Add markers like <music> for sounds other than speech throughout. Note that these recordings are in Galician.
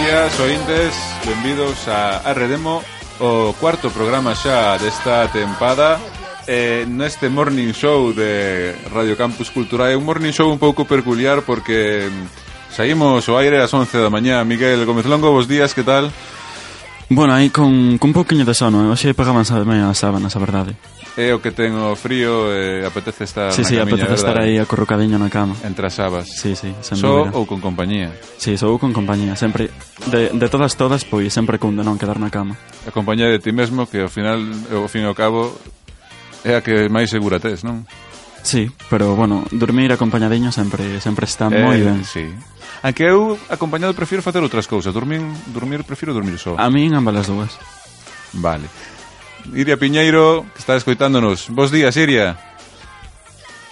días, ointes, benvidos a Arredemo O cuarto programa xa desta tempada eh, Neste morning show de Radio Campus Culturae Un morning show un pouco peculiar porque mm, Saímos o aire ás 11 da mañá Miguel Gómez Longo, bos días, que tal? Bueno, aí con, con un pouquinho de sono, eh? hoxe pagaban a meia sábanas, a verdade. É o que ten o frío, eh, apetece estar Si, na si, camiña, apetece estar verdade? aí acurrucadiño na cama. Entre as abas Si, si, sen Só dúbida. ou con compañía Si, sou con compañía, sempre de, de todas todas, pois sempre cunde non quedar na cama. A compañía de ti mesmo que ao final, ao fin e ao cabo É a que máis segura tes, non? Si, pero bueno, dormir acompañadiño sempre sempre está Ah, moi ben. Eh, Sí. Aunque eu acompañado prefiro facer outras cousas. Dormir, dormir prefiro dormir só. A min ambas as dúas. Vale. Iria Piñeiro, que está escoitándonos. Bos días, Iria.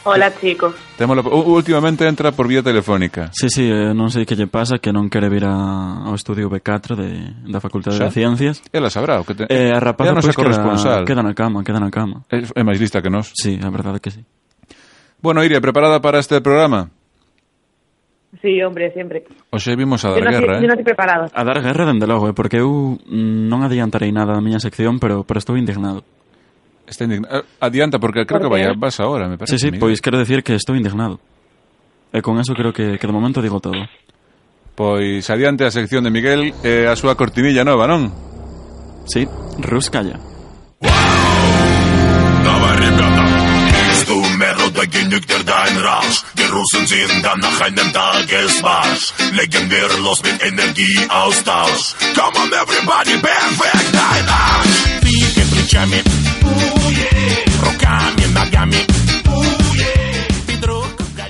Hola chicos. Temos la... u- Últimamente entra por vía telefónica. Si, si, eh, non sei que lle pasa que non quere vir a, ao estudio B4 de, da Facultade Xa? de Ciencias. Ela sabrá o que ten... E a rapaza Ela non pois é queda, corresponsal. queda na cama, queda na cama. É é máis lista que nós. Si, a verdade que si. Bueno, Iria, preparada para este programa? Sí, hombre, siempre. Oxe vimos a Yo dar no, estoy- guerra, yo no eh? estoy preparado. A dar guerra, dende logo, eh, porque eu mm, non adiantarei nada da miña sección, pero, pero estou indignado. Está indigna... Eh, Adianta, porque creo Por que vai, qué? vas ahora, me parece. Sí, sí, Miguel. pois quero decir que estou indignado. E con eso creo que, que de momento digo todo. Pois adiante a sección de Miguel e a súa cortinilla nova, non? Sí, Ruscalla. Давай, ребята, Сто метров до Генюктирдайн Раш Gerufen sind dann nach einem Tagesmarsch Legen wir los mit Energieaustausch Come on everybody, perfekt, dein Arsch Двигай плечами, руками, ногами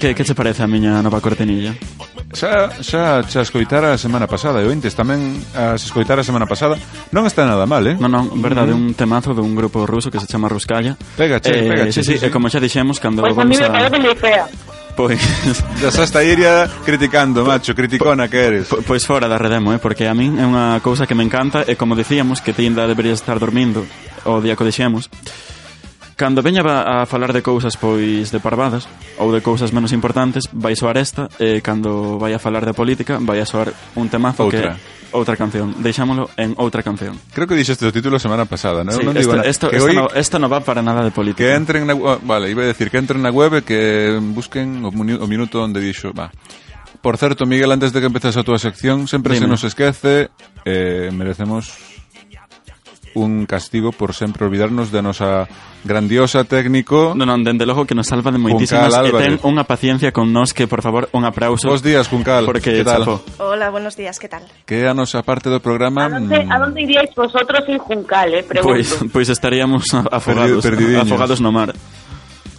Que, que che parece a miña nova cortinilla? Xa, xa, xa escoitara a semana pasada E ointes tamén as escoitara a semana pasada Non está nada mal, eh? Non, non, verdade, un temazo dun grupo ruso que se chama Ruscalla. Pega, che, pega, che, sí, sí, sí, sí. e como xa dixemos, cando Pues Pois a mí vamos me parece a... muy fea. Pois, Ya xa está Iria criticando, macho Criticona que eres po- pois fora da redemo, eh, porque a min é unha cousa que me encanta e como dicíamos que ti ainda deberías estar dormindo o día que o dixemos. Cando veña va a falar de cousas pois de parvadas ou de cousas menos importantes, vai soar esta e cando vai a falar de política vai a soar un temazo Outra. que outra canción. Deixámolo en outra canción. Creo que dixeste o título a semana pasada, non? Sí, non esta, nada. esto, que esta, hoy, no, esta no va para nada de política. que entren na... ah, Vale, iba a decir que entren na web e que busquen o, muni- o minuto onde dixo Va Por certo, Miguel, antes de que empeces a túa sección Sempre se Dime. nos esquece eh, Merecemos un castigo por sempre olvidarnos da nosa grandiosa técnico Non, non, dende logo que nos salva de moitísimas Juncal e ten Álvarez. unha paciencia con nós que, por favor, un aplauso Bos días, Juncal porque que tal? chafou. Hola, buenos días, ¿qué tal? Que é a nosa parte do programa ¿A dónde, mm, a dónde iríais vosotros sin Juncal, eh? Pregunto. Pues, Pois, <laughs> pois estaríamos <laughs> a- afogados, Perdido- perdidiños. afogados no mar.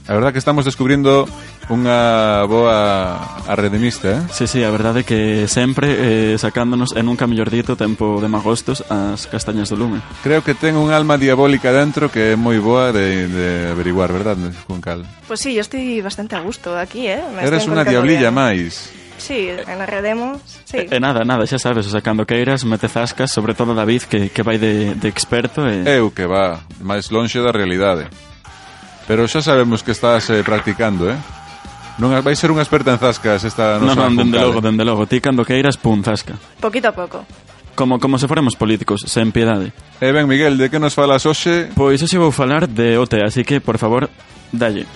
A verdad que estamos descubrindo unha boa arredemista, eh? Sí, sí, a verdade é que sempre eh, sacándonos en un mellor dito tempo de magostos as castañas do lume. Creo que ten un alma diabólica dentro que é moi boa de, de averiguar, verdad, Juncal? Pues sí, yo estoy bastante a gusto aquí, ¿eh? Me Eres estoy unha encontrando diablilla bien. máis. Sí, en la redemo, sí. E nada, nada, xa sabes, o sea, cando queiras mete zascas, sobre todo David, que, que vai de, de experto e... Eu que va, máis lonxe da realidade. Pero xa sabemos que estás eh, practicando, eh? Non vais ser unha experta en zascas esta non, nosa non, dende Juncal, logo, eh? dende logo, ti cando queiras, pum, zasca. Poquito a poco. Como, como se foremos políticos, sen piedade. Eh, ben, Miguel, de que nos falas hoxe? Pois hoxe vou falar de OT, así que, por favor, dalle.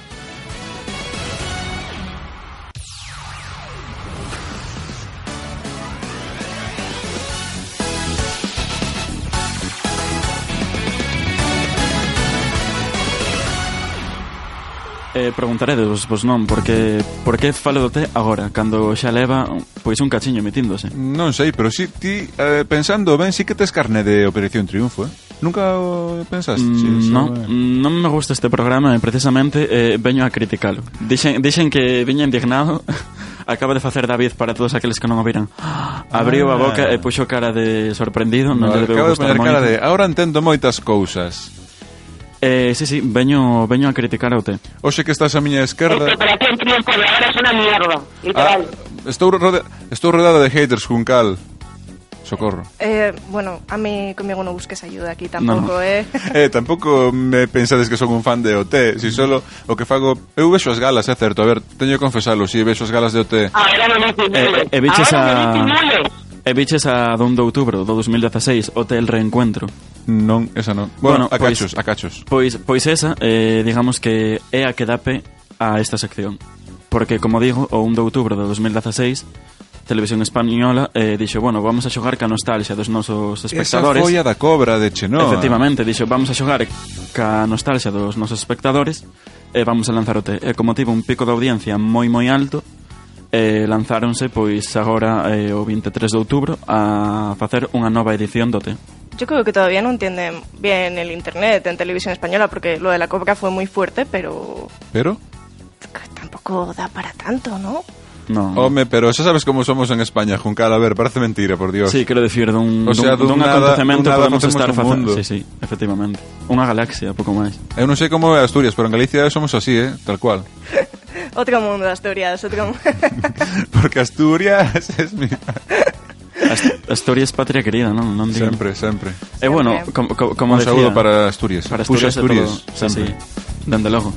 Eh, preguntaredes, pois non, porque por que falo do té agora, cando xa leva pois un cachiño metíndose. Non sei, pero si ti, eh, pensando ben, si que tes carne de Operación Triunfo, eh? Nunca o pensaste? Mm, Sí, sí, no, eh. mm, non me gusta este programa e precisamente eh, veño a criticalo. Dixen, dixen que viña indignado, <laughs> acaba de facer David para todos aqueles que non o viran. <gasps> Abriu a Ah. boca e puxo cara de sorprendido, non lle debeu acabo de gustar poner moito. cara de ah. Ahora entendo moitas cousas Eh, sí, sí, veño, veño a criticar ao té. Oxe que estás a miña Esta esquerda operación triunfo de ahora es una mierda, ah, literal. estou, rode, estou rodeada de haters, Juncal Socorro Eh, bueno, a mí conmigo no busques ayuda aquí No, no. tampoco, ¿eh? <laughs> Eh, tampouco me pensades que son un fan de OT Si solo o que fago Eu vexo as galas, é certo A ver, teño que confesalo Si vexo as galas de OT Ahora no me disimules. Eh, eh, biches a- ahora no me disimules. E biches a 2 de outubro do 2016, Hotel Reencuentro. Non, esa non. Bueno, Bueno, a pois- cachos, a cachos. Pois, pois esa, eh, digamos que é a que dá pé a esta sección. Porque, como digo, o 1 de outubro de 2016, Televisión Española eh, dixo, bueno, vamos a xogar ca nostalgia dos nosos Esa espectadores. foi a da cobra de Chenoa. Efectivamente, dixo, vamos a xogar ca nostalgia dos nosos espectadores e vamos a lanzar o té. E como tivo un pico de audiencia moi moi alto, eh, lanzáronse pois agora eh, o 23 de outubro a facer unha nova edición do té. Yo creo que todavía no entienden bien el internet en televisión española porque lo de la cobra fue muy fuerte, pero Pero, tampoco da para tanto, ¿no? No. home, pero xa sabes como somos en España, Juncal, a ver, parece mentira, por Dios. Sí, quero dicir, dun, O sea, dun, dun dun, nada- acontecemento dun nada podemos facemos estar un facendo. mundo. Sí, sí, efectivamente. Unha galaxia, pouco máis. Eu non sei como é Asturias, pero en Galicia somos así, eh, tal <laughs> cual. Otro mundo, Asturias, otro mundo. Porque Asturias <laughs> es mi... Ast- Asturias patria querida, non? non digo. Sempre, sempre. E bueno, Sempre. como, como, como Un decía... saúdo para Asturias. Para Puxa Asturias, Asturias Asturias, todo, sí, sempre. sí, dende logo.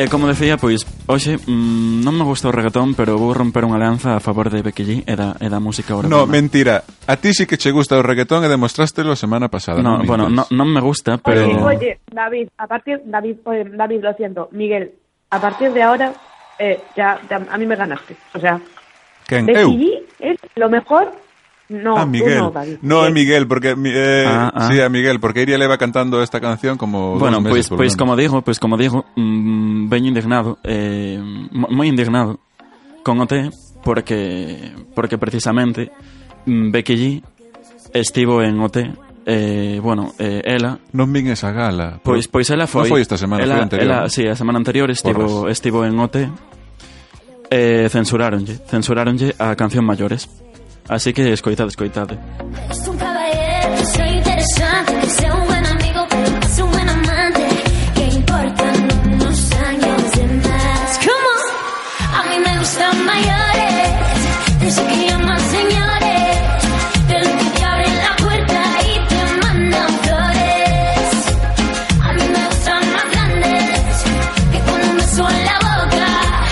E como decía, pois, hoxe mm, non me gusta o reggaetón, pero vou romper unha lanza a favor de Becky G e da, e da música urbana. No, mentira. A ti sí que che gusta o reggaetón e demostrástelo a semana pasada. No, mintas. bueno, no, non me gusta, pero... Pero- Oye, oye, David, a partir, David, oye, David, lo siento, Miguel, a partir de ahora, eh, ya, ya, a mí me ganaste. O sea, Quen? Eu? decidí es lo mejor. No, Ah, tú Miguel. no, David. No, é Miguel, porque... mi- Eh, Ah, ah. Sí, a Miguel, porque Iria leva cantando esta canción como dos Bueno, meses, pois, por lo pois menos. como digo, pois como digo, mm, veño indignado, eh, mo- moi indignado con o té porque porque precisamente mm, Becky G estivo en o té eh, bueno, eh, pues, ela Non vin esa gala. Pois pois ela foi. Non foi esta semana, foi ela, a anterior. Ela, sí, a semana anterior estivo Porras. estivo en OT. Eh, censuráronlle, censuráronlle a canción Maiores. Así que escoitade, escoitade. Es un caballero, que soy interesante, que sea un buen amigo, pero más un buen amante. ¿Qué importan unos años de más? ¿Cómo? A mí me gustan mayores, de esos que llaman señores, de los que te abren la puerta y te mandan flores. A mí me gustan más grandes, que con un beso en la boca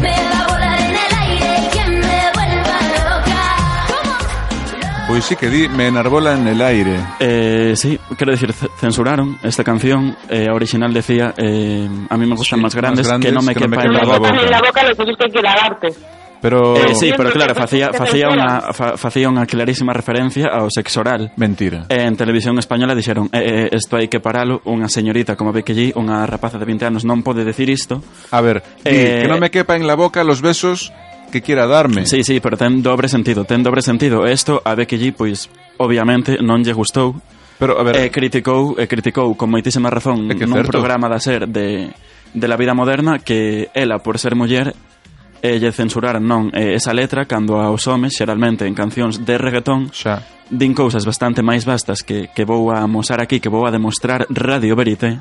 me haga volar en el aire y que me vuelva loca. ¿Cómo? Pois sí que di, me enarbola en el aire. Eh, sí, quiero decir, ce- censuraron esta canción. Eh, a original decía, eh, a mí me gustan Sí, más, grandes, más que no grandes, me que no quepa me en la quepa boca. en la boca. en la boca lo que tuviste que lavarte. Pero... Eh, sí, pero Siempre claro, te- facía, te facía, censuran. una, fa- facía una clarísima referencia ao sexo oral. Mentira. E en televisión española dixeron eh, eh, Esto hai que paralo, unha señorita como Becky G Unha rapaza de 20 anos non pode decir isto A ver, di, que eh, no me quepa en la boca los besos que quiera darme. Sí, sí, pero ten dobre sentido Ten dobre sentido E Isto a Becky G, pois, obviamente non lle gustou Pero, a ver, E criticou, e criticou con moitísima razón É que é Nun certo. programa da ser de, de la vida moderna Que ela, por ser muller E lle censuraran non eh, esa letra Cando aos homes, xeralmente en cancións de reggaetón xa. din cousas bastante máis vastas que, que vou a mosar aquí, que vou a demostrar Radio Verite.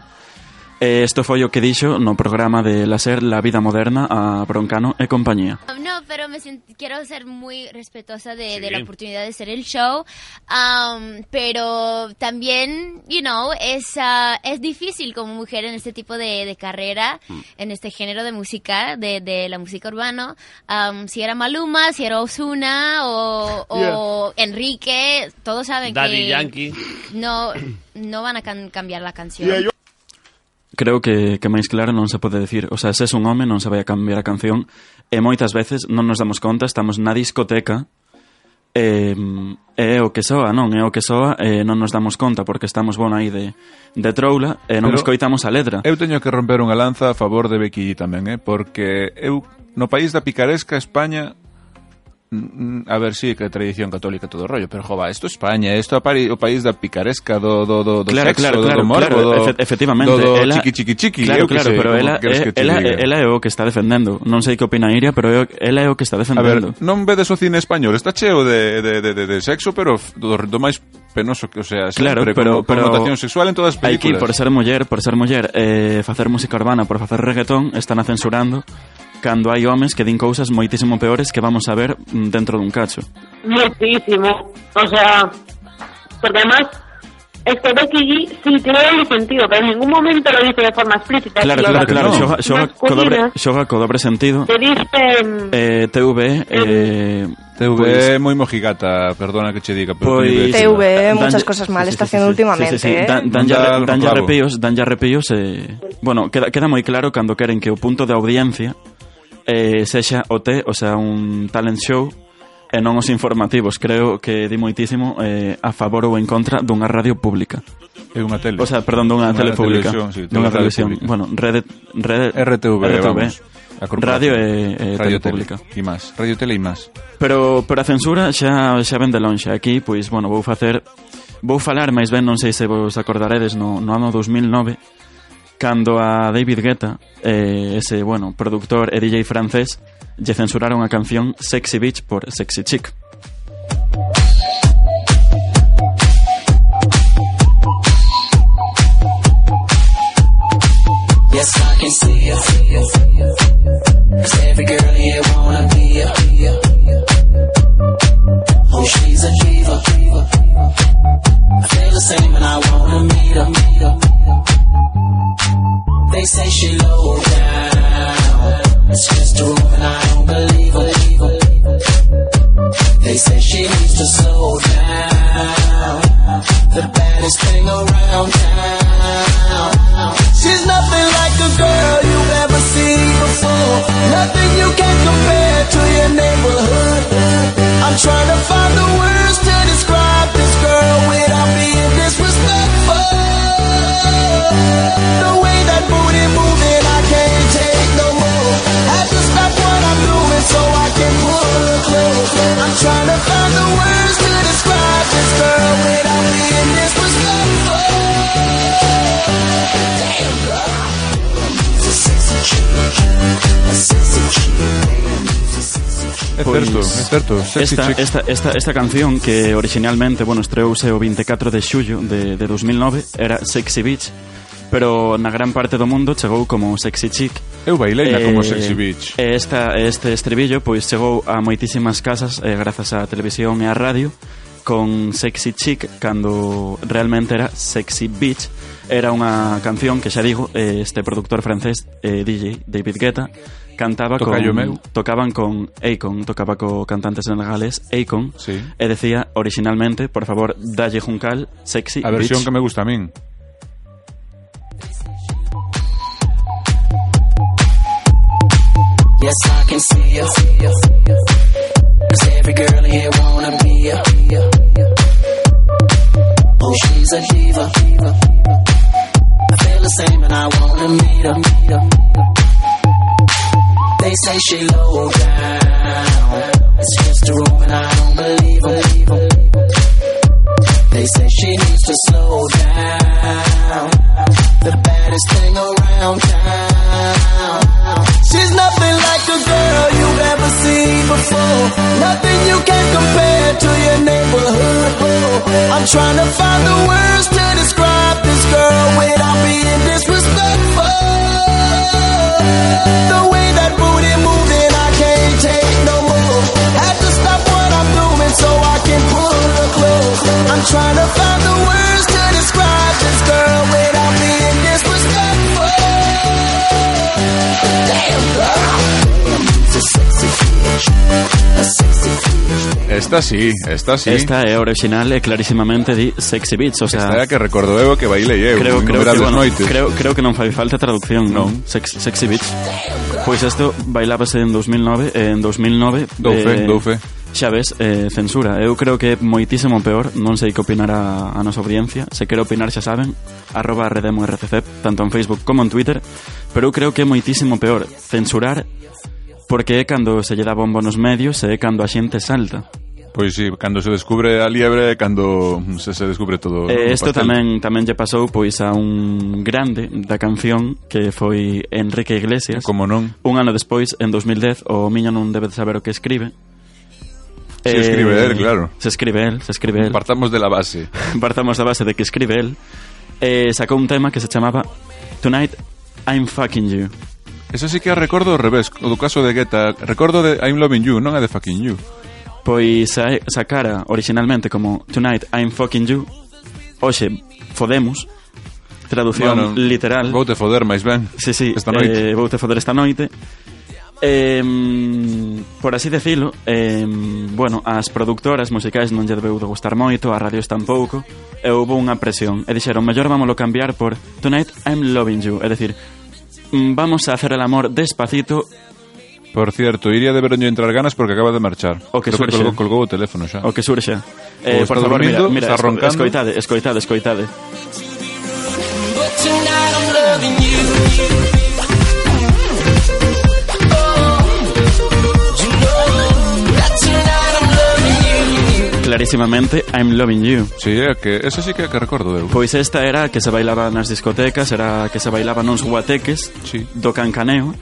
E isto foi o que dixo no programa de La Ser La Vida Moderna a Broncano e compañía. Ah, No, pero me sent- quiero ser muy respetuosa de, de la oportunidad de hacer el show. Am, pero también, you know, es, ah, es difícil como mujer en este tipo de, de carrera, Mm. en este género de música, de, de la música urbana. Am, si era Maluma, si era Ozuna o, o Enrique, todos saben Daddy que Yankee. no no van a can- cambiar la canción. Creo que, que máis claro non se pode decir. O sea, se es un home non se vai a cambiar a canción e moitas veces non nos damos conta, estamos na discoteca e, e é o que soa, non? É o que soa e non nos damos conta porque estamos, bueno, aí de, de troula e non Pero- escoitamos a letra. Eu teño que romper unha lanza a favor de Becky G tamén, eh? porque eu no país da picaresca España mm, mm, a ver si sí, que tradición católica e todo o rollo, pero jova, isto é España, isto é pari- o país da picaresca do do do, do claro, sexo, claro, do, claro, do morbo, claro, do, efe- efectivamente, do, do ela- chiqui chiqui chiqui, eu Claro, que claro, sei, pero como ela, queres é- que te ela, diga. ela é o que está defendendo. Non sei que opina Iria, pero é o- ela é o que está A ver, defendendo. non vedes o cine español, está cheo de, de, de, de, de sexo, pero f- do, do máis penoso que, o sea, Claro, sempre, pero- con connotación pero- sexual en todas as Aquí, películas. por ser muller, por ser muller, eh, facer música urbana, por facer reggaetón, están a censurando cando hai homes que din cousas moitísimo peores que vamos a ver mm, dentro dun cacho. Muchísimo. O sea, porque además, es que Becky este G sí tiene doble sentido, pero en ningún momento lo dice de forma explícita. Claro, sino claro, las claro. no. Xoga, xoga, co dobre, masculinas xoga co dobre sentido. Te dicen... Eh, TV, eh, TV moi mojigata, perdona que che diga, pero pois- coño, pois- que- TV, dan- muchas dan- cosas mal está haciendo últimamente, Sí, sí, sí. eh. Dan, dan, ya, Dá re- dan clavo. ya arrepíos, dan ya arrepíos eh, bueno, queda, queda moi claro cando queren que o punto de audiencia eh, sexa o té, o sea, un talent show e non os informativos. Creo que di moitísimo eh, a favor ou en contra dunha radio pública. É unha tele. O sea, perdón, dunha tele pública. televisión, sí, dunha tele dunha televisión. pública. Bueno, rede, rede, RTV, vamos. A corporación. Radio e, e Radio radio Tele pública. e más, Radio Tele e más. Pero, pero a censura xa, xa ven de lonxe Aquí, pois, bueno, vou facer Vou falar, máis ben non sei se vos acordaredes No, no ano 2009 Cando a David Guetta eh, Ese, bueno, productor e DJ francés Lle censuraron a canción Sexy Beach por Sexy Chick Yes, I can see ya. Cause every girl you wanna be a. Oh, she's a diva. I feel the same and I wanna meet her. They say she low down. It's just a rumor and I don't believe her. They say she needs to slow down. The baddest thing around town. She's nothing like a girl you've ever seen before. Nothing you can compare to your neighborhood. I'm trying to find the words to describe this girl without being disrespectful. The way that booty moving, I can't take no more. Had to stop what I'm doing so I can pull her close. I'm trying to find the words to describe this girl without being disrespectful. É Pois, certo, é certo. Sexy esta, chick. esta, esta, esta canción que originalmente bueno, estreouse o 24 de xullo de, de 2009 Era Sexy Beach Pero na gran parte do mundo chegou como Sexy Chick Eu bailei na Eh, como Sexy Beach. E esta, este estribillo pois chegou a moitísimas casas eh, grazas á televisión e á radio con Sexy Chic cando realmente era Sexy Beach era unha canción que xa digo eh, este productor francés eh, DJ David Guetta cantaba Tocayo con meu. tocaban con Akon tocaba co cantante senegalés Akon Sí. e decía originalmente por favor dalle juncal Sexy A versión Beach que me gusta a min. Yes, I can see ya. Cause every girl here wanna be a. Oh, she's a diva. I feel the same and I wanna meet her. They say she low down. It's just a rumor and I don't believe her. They say she needs to slow down. The baddest thing around town. She's nothing like a girl you've ever seen before. Nothing you can compare to your neighborhood. hoe. I'm trying to find the words to describe this girl without being disrespectful. The way that booty moving, I can't take no more. Had to stop what I'm doing so I can pull her close. I'm trying to find the words to describe this girl without being disrespectful. Esta sí, esta sí. Esta é original e clarísimamente di Sexy Beach, o sea, Esta é a que recordo eu e que bailei eu. creo, creo, que, innumerables bueno, noites. creo, creo que non fai falta traducción Non. non? Sex, Sexy Beach Pois isto bailábase en 2009 e En 2009 Dou fe, dou fe. eh, Xa ves, eh, censura Eu creo que é moitísimo peor Non sei que opinará a nosa audiencia Se quere opinar xa saben Arroba redemo RCC Tanto en Facebook como en Twitter Pero eu creo que é moitísimo peor Censurar Porque é cando se lle dá bombo nos medios E é cando a xente salta Pois sí, cando se descubre a liebre, cando se, se descubre todo. o Eh, isto pastel. tamén tamén lle pasou pois a un grande da canción que foi Enrique Iglesias. Como non. Un ano despois, en 2010, o Miño non debe de saber o que escribe. Se Eh, escribe él, claro. Se escribe él, se escribe él. Partamos de la base. <laughs> Partamos da base de que escribe él. Eh, sacou un tema que se chamaba Tonight I'm Fucking You. Eso sí que a recordo ao revés, o do caso de Guetta. Recordo de I'm Loving You, non é de Fucking You. Pois sa- sacara originalmente como Tonight I'm Fucking You Oxe, Fodemos, traducción Bueno, literal. Vou te foder, máis ben. Sí, sí, Esta noite. eh, voute foder esta noite. Eh, por así decirlo, eh, bueno, as productoras musicais non lle debeu de gustar moito, a radios tampouco, e houve unha presión. E dixeron, mellor vámolo cambiar por Tonight I'm Loving You, é dicir, mm, vamos a hacer el amor despacito Por cierto, iría de veronlle entrar ganas porque acaba de marchar. O que Creo que surxe. colgou, colgou o teléfono xa. o que surxa. Ou Eh, está por favor, mira, dormindo, Pois está mira esco- roncando. escoitade, escoitade, escoitade. But tonight I'm loving you. Oh, you know that tonight I'm loving you. Clarísimamente, I'm loving you. Sí, é que esa sí que é que recordo eu. Pois esta era a que se bailaba nas discotecas, era a que se bailaba nos guateques Sí. do cancaneo.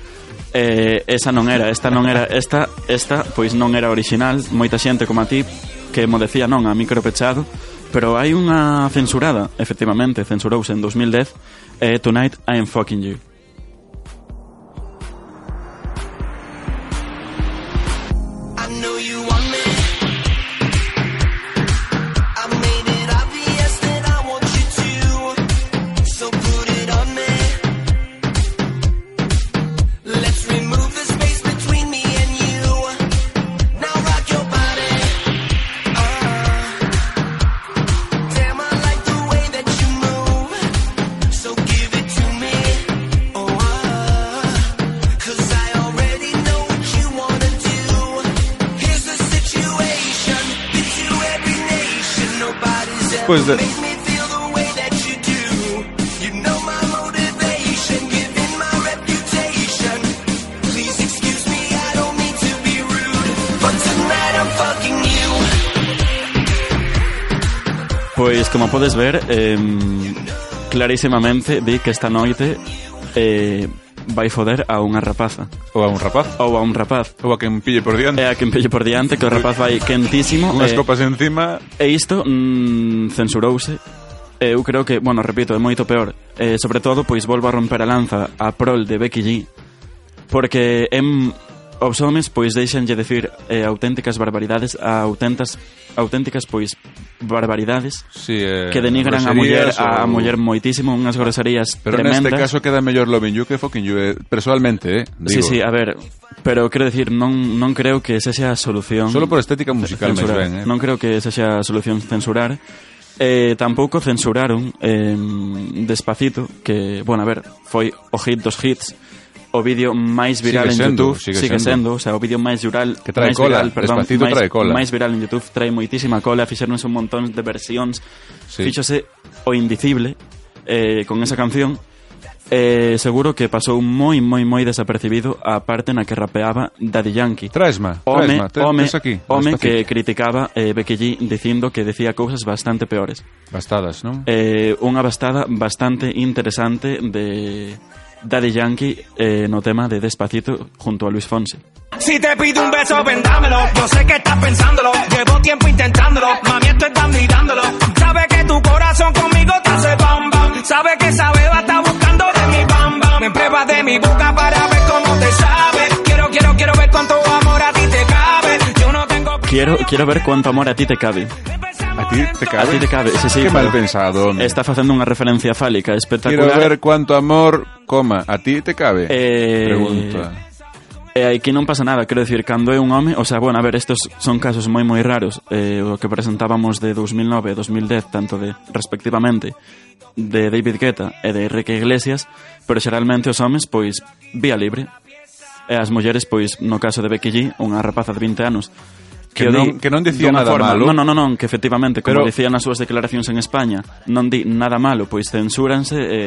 Eh, esa non era, esta non era, esta, esta pois non era original, moita xente como a ti que mo decía non a micro pechado, pero hai unha censurada, efectivamente, censurouse en 2010, eh, Tonight I am fucking you. I know you want me. I made it obvious that I want you to. So put it on me. Let's remove the space between me and you. Now rock your body. Ah. Damn, I like the way that you move. So give it to me. Oh, ah. Cause I already know what you wanna do. Here's the situation. Been to every nation. Nobody's ever Pues de- made me feel the way that you do. You know my motivation, given my reputation. Please excuse me, I don't mean to be rude. But tonight I'm fucking you. Pois como podes ver, eh, clarísimamente di que esta noite eh, vai foder a unha rapaza Ou a un rapaz, ou a un rapaz ou a quen pille por diante. É a quen pelle por diante que o rapaz vai quentísimo Unhas eh, copas encima, E isto mm, censurouse E Eu creo que, bueno, repito, é moito peor eh, Sobre todo, pois volvo a romper a lanza A prol de Becky G Porque em, os homes pois deixanlle decir eh, auténticas barbaridades a auténtas, auténticas pois barbaridades sí, eh, que denigran a muller groserías a, a ou- muller moitísimo unhas groserías Pero tremendas neste caso queda mellor Loving You que Fucking You, eh, personalmente, eh, Sí, digo. sí, ah, a ver Pero quero decir, non, non creo que esa sea a solución Solo por estética musical, máis censurar. ben, eh. Non creo que esa sea a solución censurar. Eh, tampouco censuraron eh, Despacito, que, bueno, a ver, foi o hit dos hits, o vídeo máis viral Sigue en sendo, YouTube, sigue sigue sendo. sendo, o sea, o vídeo máis viral, Que trae máis cola, viral, perdón, Despacito máis, trae cola. máis viral en YouTube, trae moitísima cola, fixeronse un montón de versións, Sí. fíxose o indicible eh, con esa canción, eh, seguro que pasou moi, moi, moi desapercibido a parte na que rapeaba Daddy Yankee Traesma, home, traesma, te- home, tes aquí, home despacito. que criticaba eh, Becky G dicindo que decía cousas bastante peores. Bastadas, non? Eh, unha bastada bastante interesante de Daddy Yankee eh, no tema de Despacito junto a Luis Fonsi. Si te pido un beso, vendámelo. Yo sé que estás pensándolo. Llevo tiempo intentándolo. Mami, esto es dando y dándolo. Sabe que tu corazón conmigo te hace bam bam. Sabe que esa beba está buscando de mi bam bam. Me prueba de mi boca para ver cómo te sabe. Quiero, quiero, quiero ver cuánto amor a ti te cabe. Yo no tengo Quiero, quiero ver cuánto amor a ti te cabe. A ti te cabe. A ti te cabe, sí, sí. Qué mal pero pensado, home. Está facendo unha referencia fálica Quiero espectacular. ver cuánto amor, coma, a ti te cabe. Eh, Pregunta. E aquí non pasa nada, quero dicir, cando é un home, o sea, bueno, a ver, estes son casos moi moi raros, eh, o que presentábamos de 2009 e 2010, tanto de, respectivamente, de David Guetta e de Enrique Iglesias, pero xeralmente os homes, pois, vía libre, e as mulleres, pois, no caso de Becky G, unha rapaza de 20 anos, Que o non- di que non dicía dunha nada malo. Non, non, non, non, que efectivamente, como Pero- dicían as súas declaracións en España, non di nada malo, pois censúranse e,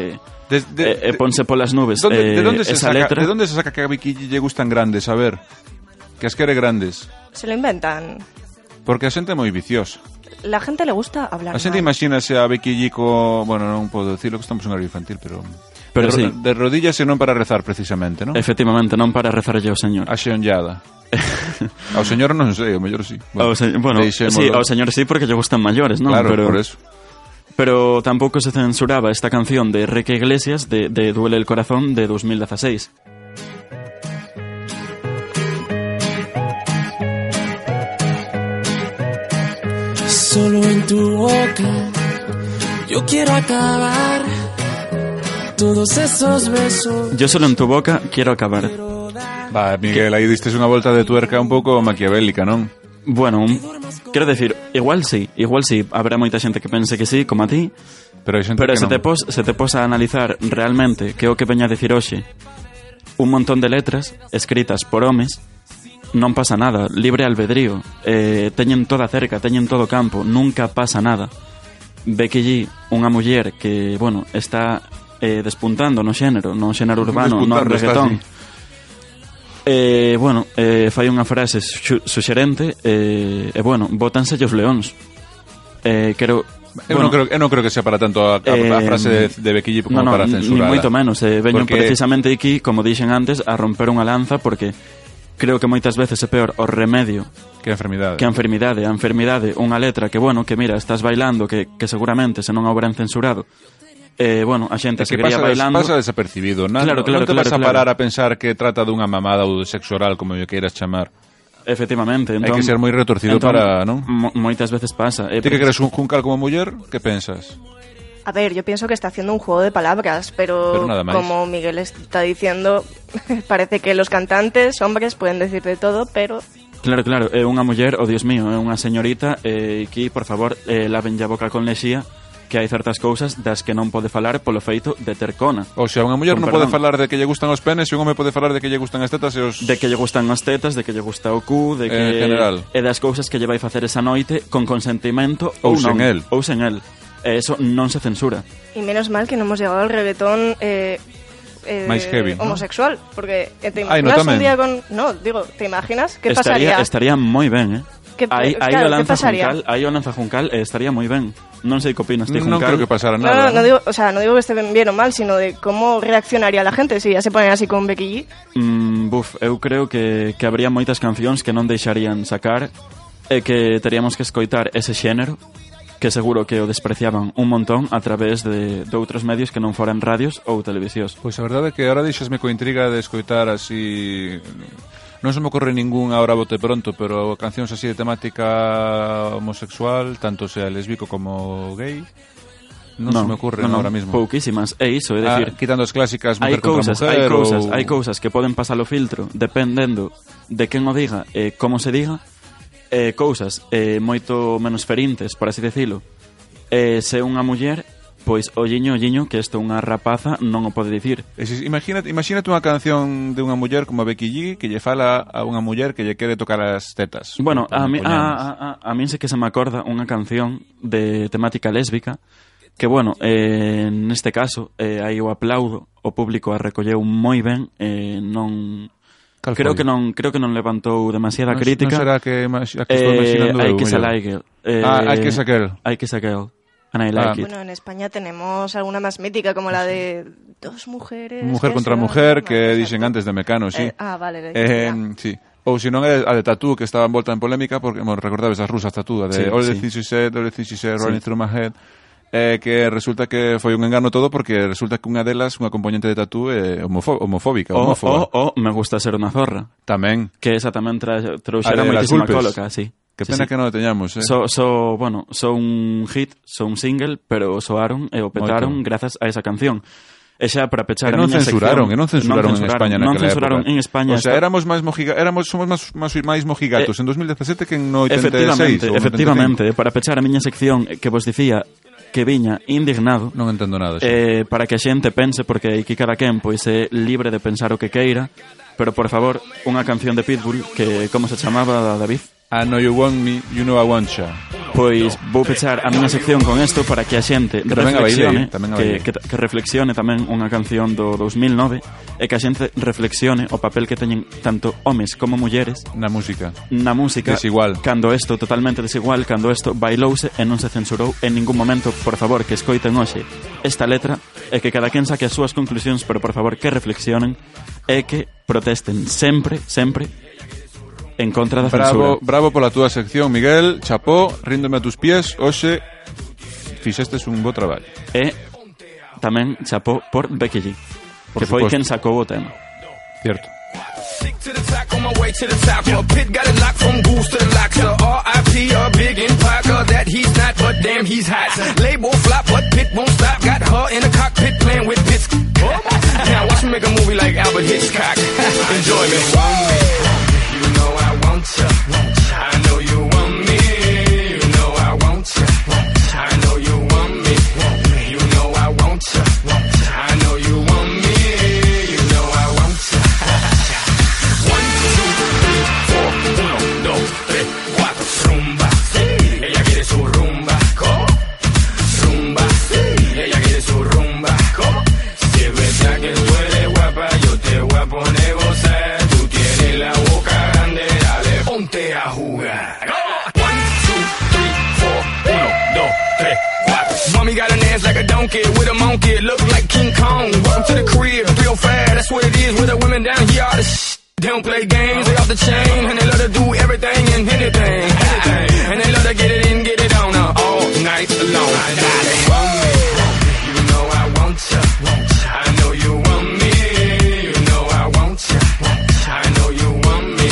De- de- e, e ponse polas nubes ¿Dónde- eh, de, dónde se esa saca, letra. ¿De dónde se saca que a Vicky lle gustan grandes? A ver, que as quere grandes. <laughs> Se lo inventan. Porque a xente é moi viciosa. La gente le gusta hablar. A xente mal. imagínase a Becky G co... Bueno, non podo dicirlo que estamos en horario infantil, pero... Pero de, sí. ro- de rodillas e non para rezar, precisamente, non? Efectivamente, non para rezarlle ao señor. A <laughs> xeonllada. ao señor non sei, ao mellor sí. Ao se, bueno, deixémolo. sí, ao señor sí porque lle gustan maiores, non? Claro, pero, por eso. pero tampouco se censuraba esta canción de Enrique Iglesias de, de Duele el Corazón de 2016. Solo en tu boca Yo quiero acabar todos esos besos. Yo solo en tu boca quiero acabar. Va, Miguel, ahí diste una vuelta de tuerca un pouco maquiavélica, non? Bueno, un- quero decir, igual sí, igual sí, habrá moita xente que pense que sí, como a ti, Pero hai xente que pero se non. te pos, se te pos a analizar realmente que é o que veña a decir hoxe un montón de letras escritas por homes non pasa nada, libre albedrío eh, teñen toda cerca, teñen todo campo nunca pasa nada Becky G, unha muller que, bueno, está eh, despuntando no xénero, no xénero urbano, Despuntando, no está reggaetón. Eh, bueno, eh, fai unha frase xu- suxerente eh, e, bueno, botanse os leóns. Eh, quero... Eu, bueno, non creo, eu non creo que sea para tanto a, a, a eh, frase de, de Becky G como no, no, para ni- censurarla. Ni moito menos, eh, veño Porque- precisamente aquí, como dixen antes, a romper unha lanza porque creo que moitas veces é peor o remedio Que enfermidade. que a enfermidade, a enfermidade, unha letra que, bueno, que mira, estás bailando, que, que seguramente se non a houberan censurado, eh, bueno, a xente É que seguiría pasa, des- bailando. pasa desapercibido. Na, Claro, claro, non te claro, vas a claro. parar a pensar que trata dunha mamada ou de sexo oral, como yo queiras chamar. Efectivamente, entón, que ser moi retorcido para, non? mo- Moitas veces pasa. Eh, Ti que pero- queres un juncal como muller, que pensas? A ver, yo pienso que está haciendo un juego de palabras, pero, Pero nada más. como Miguel está diciendo, <laughs> parece que los cantantes, hombres, pueden decir de todo, pero Claro, claro, é unha muller, oh dios mío, é unha señorita eh, que, por favor, eh, laven a boca con lexía que hai certas cousas das que non pode falar polo feito de ter cona. Ou sea, unha muller non Con pode perdón. falar de que lle gustan os penes e un home pode falar de que lle gustan as tetas e os... De que lle gustan as tetas, de que lle gusta o cu, de que... En general. E das cousas que lle vai facer esa noite con consentimento Ou ou, sen non, el. Ou sen el. E eso non se censura. y menos mal que no hemos llegado al reggaetón eh, eh, Más heavy, ¿no? homosexual, porque eh, te Ay, no imaginas un tamén. día con... No, digo, ¿te imaginas? ¿Qué estaría, pasaría? estaría moi ben, eh? Que- aí, aí o claro, que lanza pasaría? juncal, aí o lanza juncal eh, estaría moi ben. Non sei que opinas ti, non Juncal. creo que pasara No, nada. no, no digo, o sea, no digo que esté bien o mal, sino de cómo reaccionaría la gente si ya se ponen así con Becky G. Mm, buf, eu creo que, que habría moitas cancións que non deixarían sacar e que teríamos que escoitar ese xénero que seguro que o despreciaban un montón a través de, de outros medios que non foran radios ou televisións. Pois a verdade é que ahora deixasme coa intriga de escoitar así... Non se me ocorre ningún ahora bote pronto, pero cancións así de temática homosexual, tanto sea lésbico como gay, non, se me ocorre non, non, ahora mismo. Pouquísimas, é iso, é dicir, ah, quitando as clásicas hai mujer contra cousas, mujer hai cousas, ou... hai cousas que poden pasar o filtro dependendo de quen o diga e como se diga, eh, cousas eh, moito menos ferintes, por así decilo. Eh, se é unha muller, pois olliño, olliño, que isto é unha rapaza non o pode dicir. Exis- Imagínate, imagínate unha canción de unha muller como a Becky G que lle fala a unha muller que lle quere tocar as tetas. Bueno, a mí, ah, a, Poñamos. a, a, a mí sí que se me acorda unha canción de temática lésbica que, bueno, eh, neste caso, eh, aí o aplaudo, o público a recolleu moi ben, eh, non... Cal ah, Creo foi? que non creo que non levantou demasiada Non- crítica. Non será que, imagi- a que estou eh, imaginando hai eu, que mellor. salaigel. Eh, Ah, hai que saquel. Hai que saquel. And I like Ah. it. Bueno, en España tenemos alguna más mítica, como la de dos mujeres... Mujer que contra se mujer aman, que exacto. dixen antes de Mecano, sí. Eh, ah, vale. Eh, ya. sí. Ou se non é a de Tatú que estaba envolta en polémica porque mo recordabes as rusas Tatú a de Sí, All the sí. things you said, all the things you said, running through my head. Eh, que resulta que foi un engano todo porque resulta que unha delas, unha componente de Tatú é homofó homofóbica, O, o, homófoba. o, Oh, me gusta ser unha zorra. Tamén. Que esa tamén tra, A trouxera Ah, de las moitísima gulpes. cóloca, sí. Que sí, pena sí. que non o teñamos, eh. So, so, bueno, so un hit, so un single, pero soaron e o petaron Moito. grazas a esa canción. E xa para pechar E a non miña censuraron, sección, e non censuraron, en España non naquela censuraron época. en España. O sea, esta- éramos máis mojiga, éramos somos máis máis, máis mojigatos en 2017 que en 86 efectivamente, ou en 85. efectivamente, para pechar a miña sección eh, que vos dicía que viña indignado, Non entendo nada. xa. eh, para que a xente pense, porque aquí cada quen pois é libre de pensar o que queira, pero por favor, unha canción de Pitbull que como se chamaba David? I know you want me, you know I want you. Pois vou pechar a miña sección con isto para que a xente Que tamén a reflexione, bailei, tamén a que, bailei. que, que reflexione tamén unha canción do 2009 e que a xente reflexione o papel que teñen tanto homes como mulleres Na música. na música Desigual. cando isto totalmente desigual cando isto bailouse e non se censurou en ningún momento por favor que escoiten hoxe esta letra e que cada quen saque as súas conclusións pero por favor que reflexionen e que protesten sempre sempre en contra da Bravo, censura bravo pola túa sección, Miguel. Chapó, ríndome a tus pies. Hoxe fixestes un bo traballo. e tamén chapó por Becky G Por que foi suposto. quen sacou o tema Cierto. Stick to the tack on my way to the top. A pit got it locked from goose to the lock. To RIP, a big in pocket that he's not, but damn, he's hot. Label fly stop, what pit won't stop. Got her in the cockpit playing with bits. <laughs> now watch me make a movie like Albert Hitchcock. <laughs> Enjoy me. Want me. You know I want ya. I know you want me. You know I want ya. I know you want me. You know I want ya. I know you want me. You know I want ya. One, two, three, four. Uno, dos, tres, cuatro. Rumba. Ella quiere su rumba. ¿Cómo? rumba. Ella quiere su rumba. ¿Cómo? Si es verdad que tú eres guapa, yo te voy a poner a gozar. Tú tienes la boca grande, dale, ponte a jugar. One, two, three, four. Uno, dos, tres, cuatro. Mommy got an ass like a donkey with a monkey. Look like King Kong. Welcome to the crib. Real fast, that's what it is with the women down here. All the sh- they don't play games, they off the chain. And they love to do everything and anything. anything. And they love to get it in, get it on uh, all night long. They want me. You know I want ya. I know you want me. You know I want ya. I know you want me.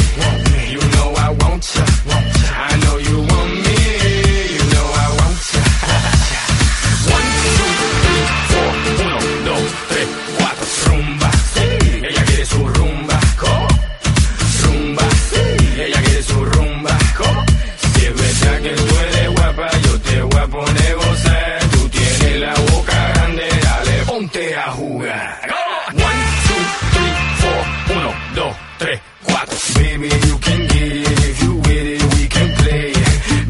You know I want ya. I know you want me. You know I want ya. One, two, three, four. Uno, dos, tres, cuatro. Rumba. Ella quiere su rumba. ¿Cómo? rumba. Ella quiere su rumba. ¿Cómo? Si es verdad que tú eres guapa, yo te voy a poner a gozar. Tú tienes la boca grande, dale, ponte a jugar. One, two, three, four. Uno, dos, tres, cuatro. Baby, you can get it if you with it, we can play.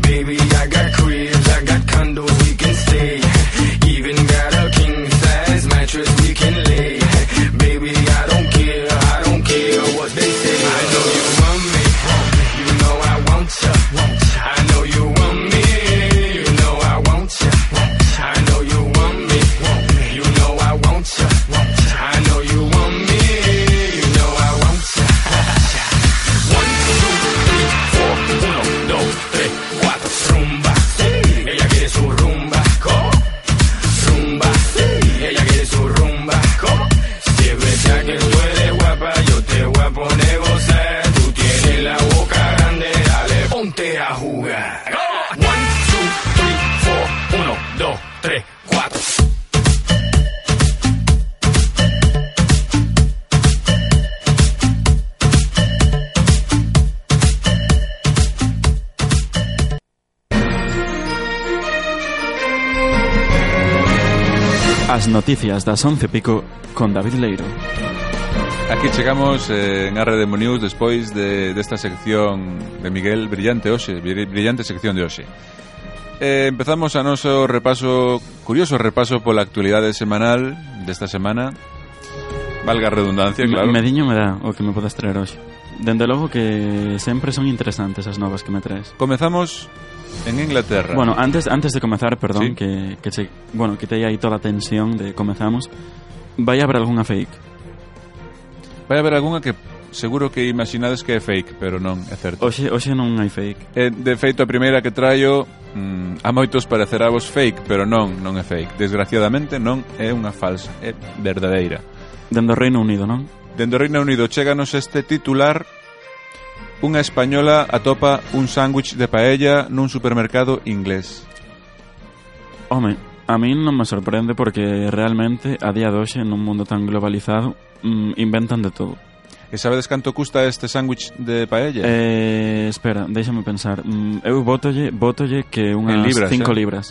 Baby, I got cribs, I got condos, we can stay. Even got a king size mattress we can lay. Baby, I don't care, I don't care what they say. I know you want me, you know I want ya. I know you want me, you know I want ya. I know you want me, you know I want ya. I know you want me, you know I want ya. One, two, three, four. Uno, dos, tres, cuatro. Rumba, ella quiere su rumba. ¿Cómo? rumba. Ella quiere su rumba. ¿Cómo? Si es verdad que tú eres guapa, yo te voy a poner a gozar. Tú tienes la boca grande, dale, ponte a jugar. One, two, three, four. Uno, dos, tres, cuatro. As noticias das 11 e pico con David Leiro. Aquí chegamos eh, en Arredemo News despois de, desta sección de Miguel brillante hoxe, bri- brillante sección de hoxe. Eh, empezamos a noso repaso, curioso repaso pola actualidade semanal desta semana. Valga a redundancia, claro. Me diño me dá o que me podes traer hoxe. Dende logo que sempre son interesantes as novas que me traes. Comezamos en Inglaterra. Bueno, antes antes de comezar, perdón, Sí. que, que che, bueno, que aí toda a tensión de comezamos. Vai haber algunha fake. Vai haber algunha que seguro que imaginades que é fake, pero non é certo. Hoxe, hoxe non hai fake. Eh, de feito, a primeira que traio mm, A moitos parecerá vos fake Pero non, non é fake Desgraciadamente non é unha falsa É verdadeira Dende o Reino Unido, non? Dende o Reino Unido cheganos este titular Unha española atopa un sándwich de paella nun supermercado inglés Home, a mí non me sorprende porque realmente a día de hoxe nun mundo tan globalizado mm, inventan de todo. E sabedes canto custa este sándwich de paella? Eh, espera, déixame pensar. Mm, eu votolle, votolle que unhas En libras, 5 eh? libras.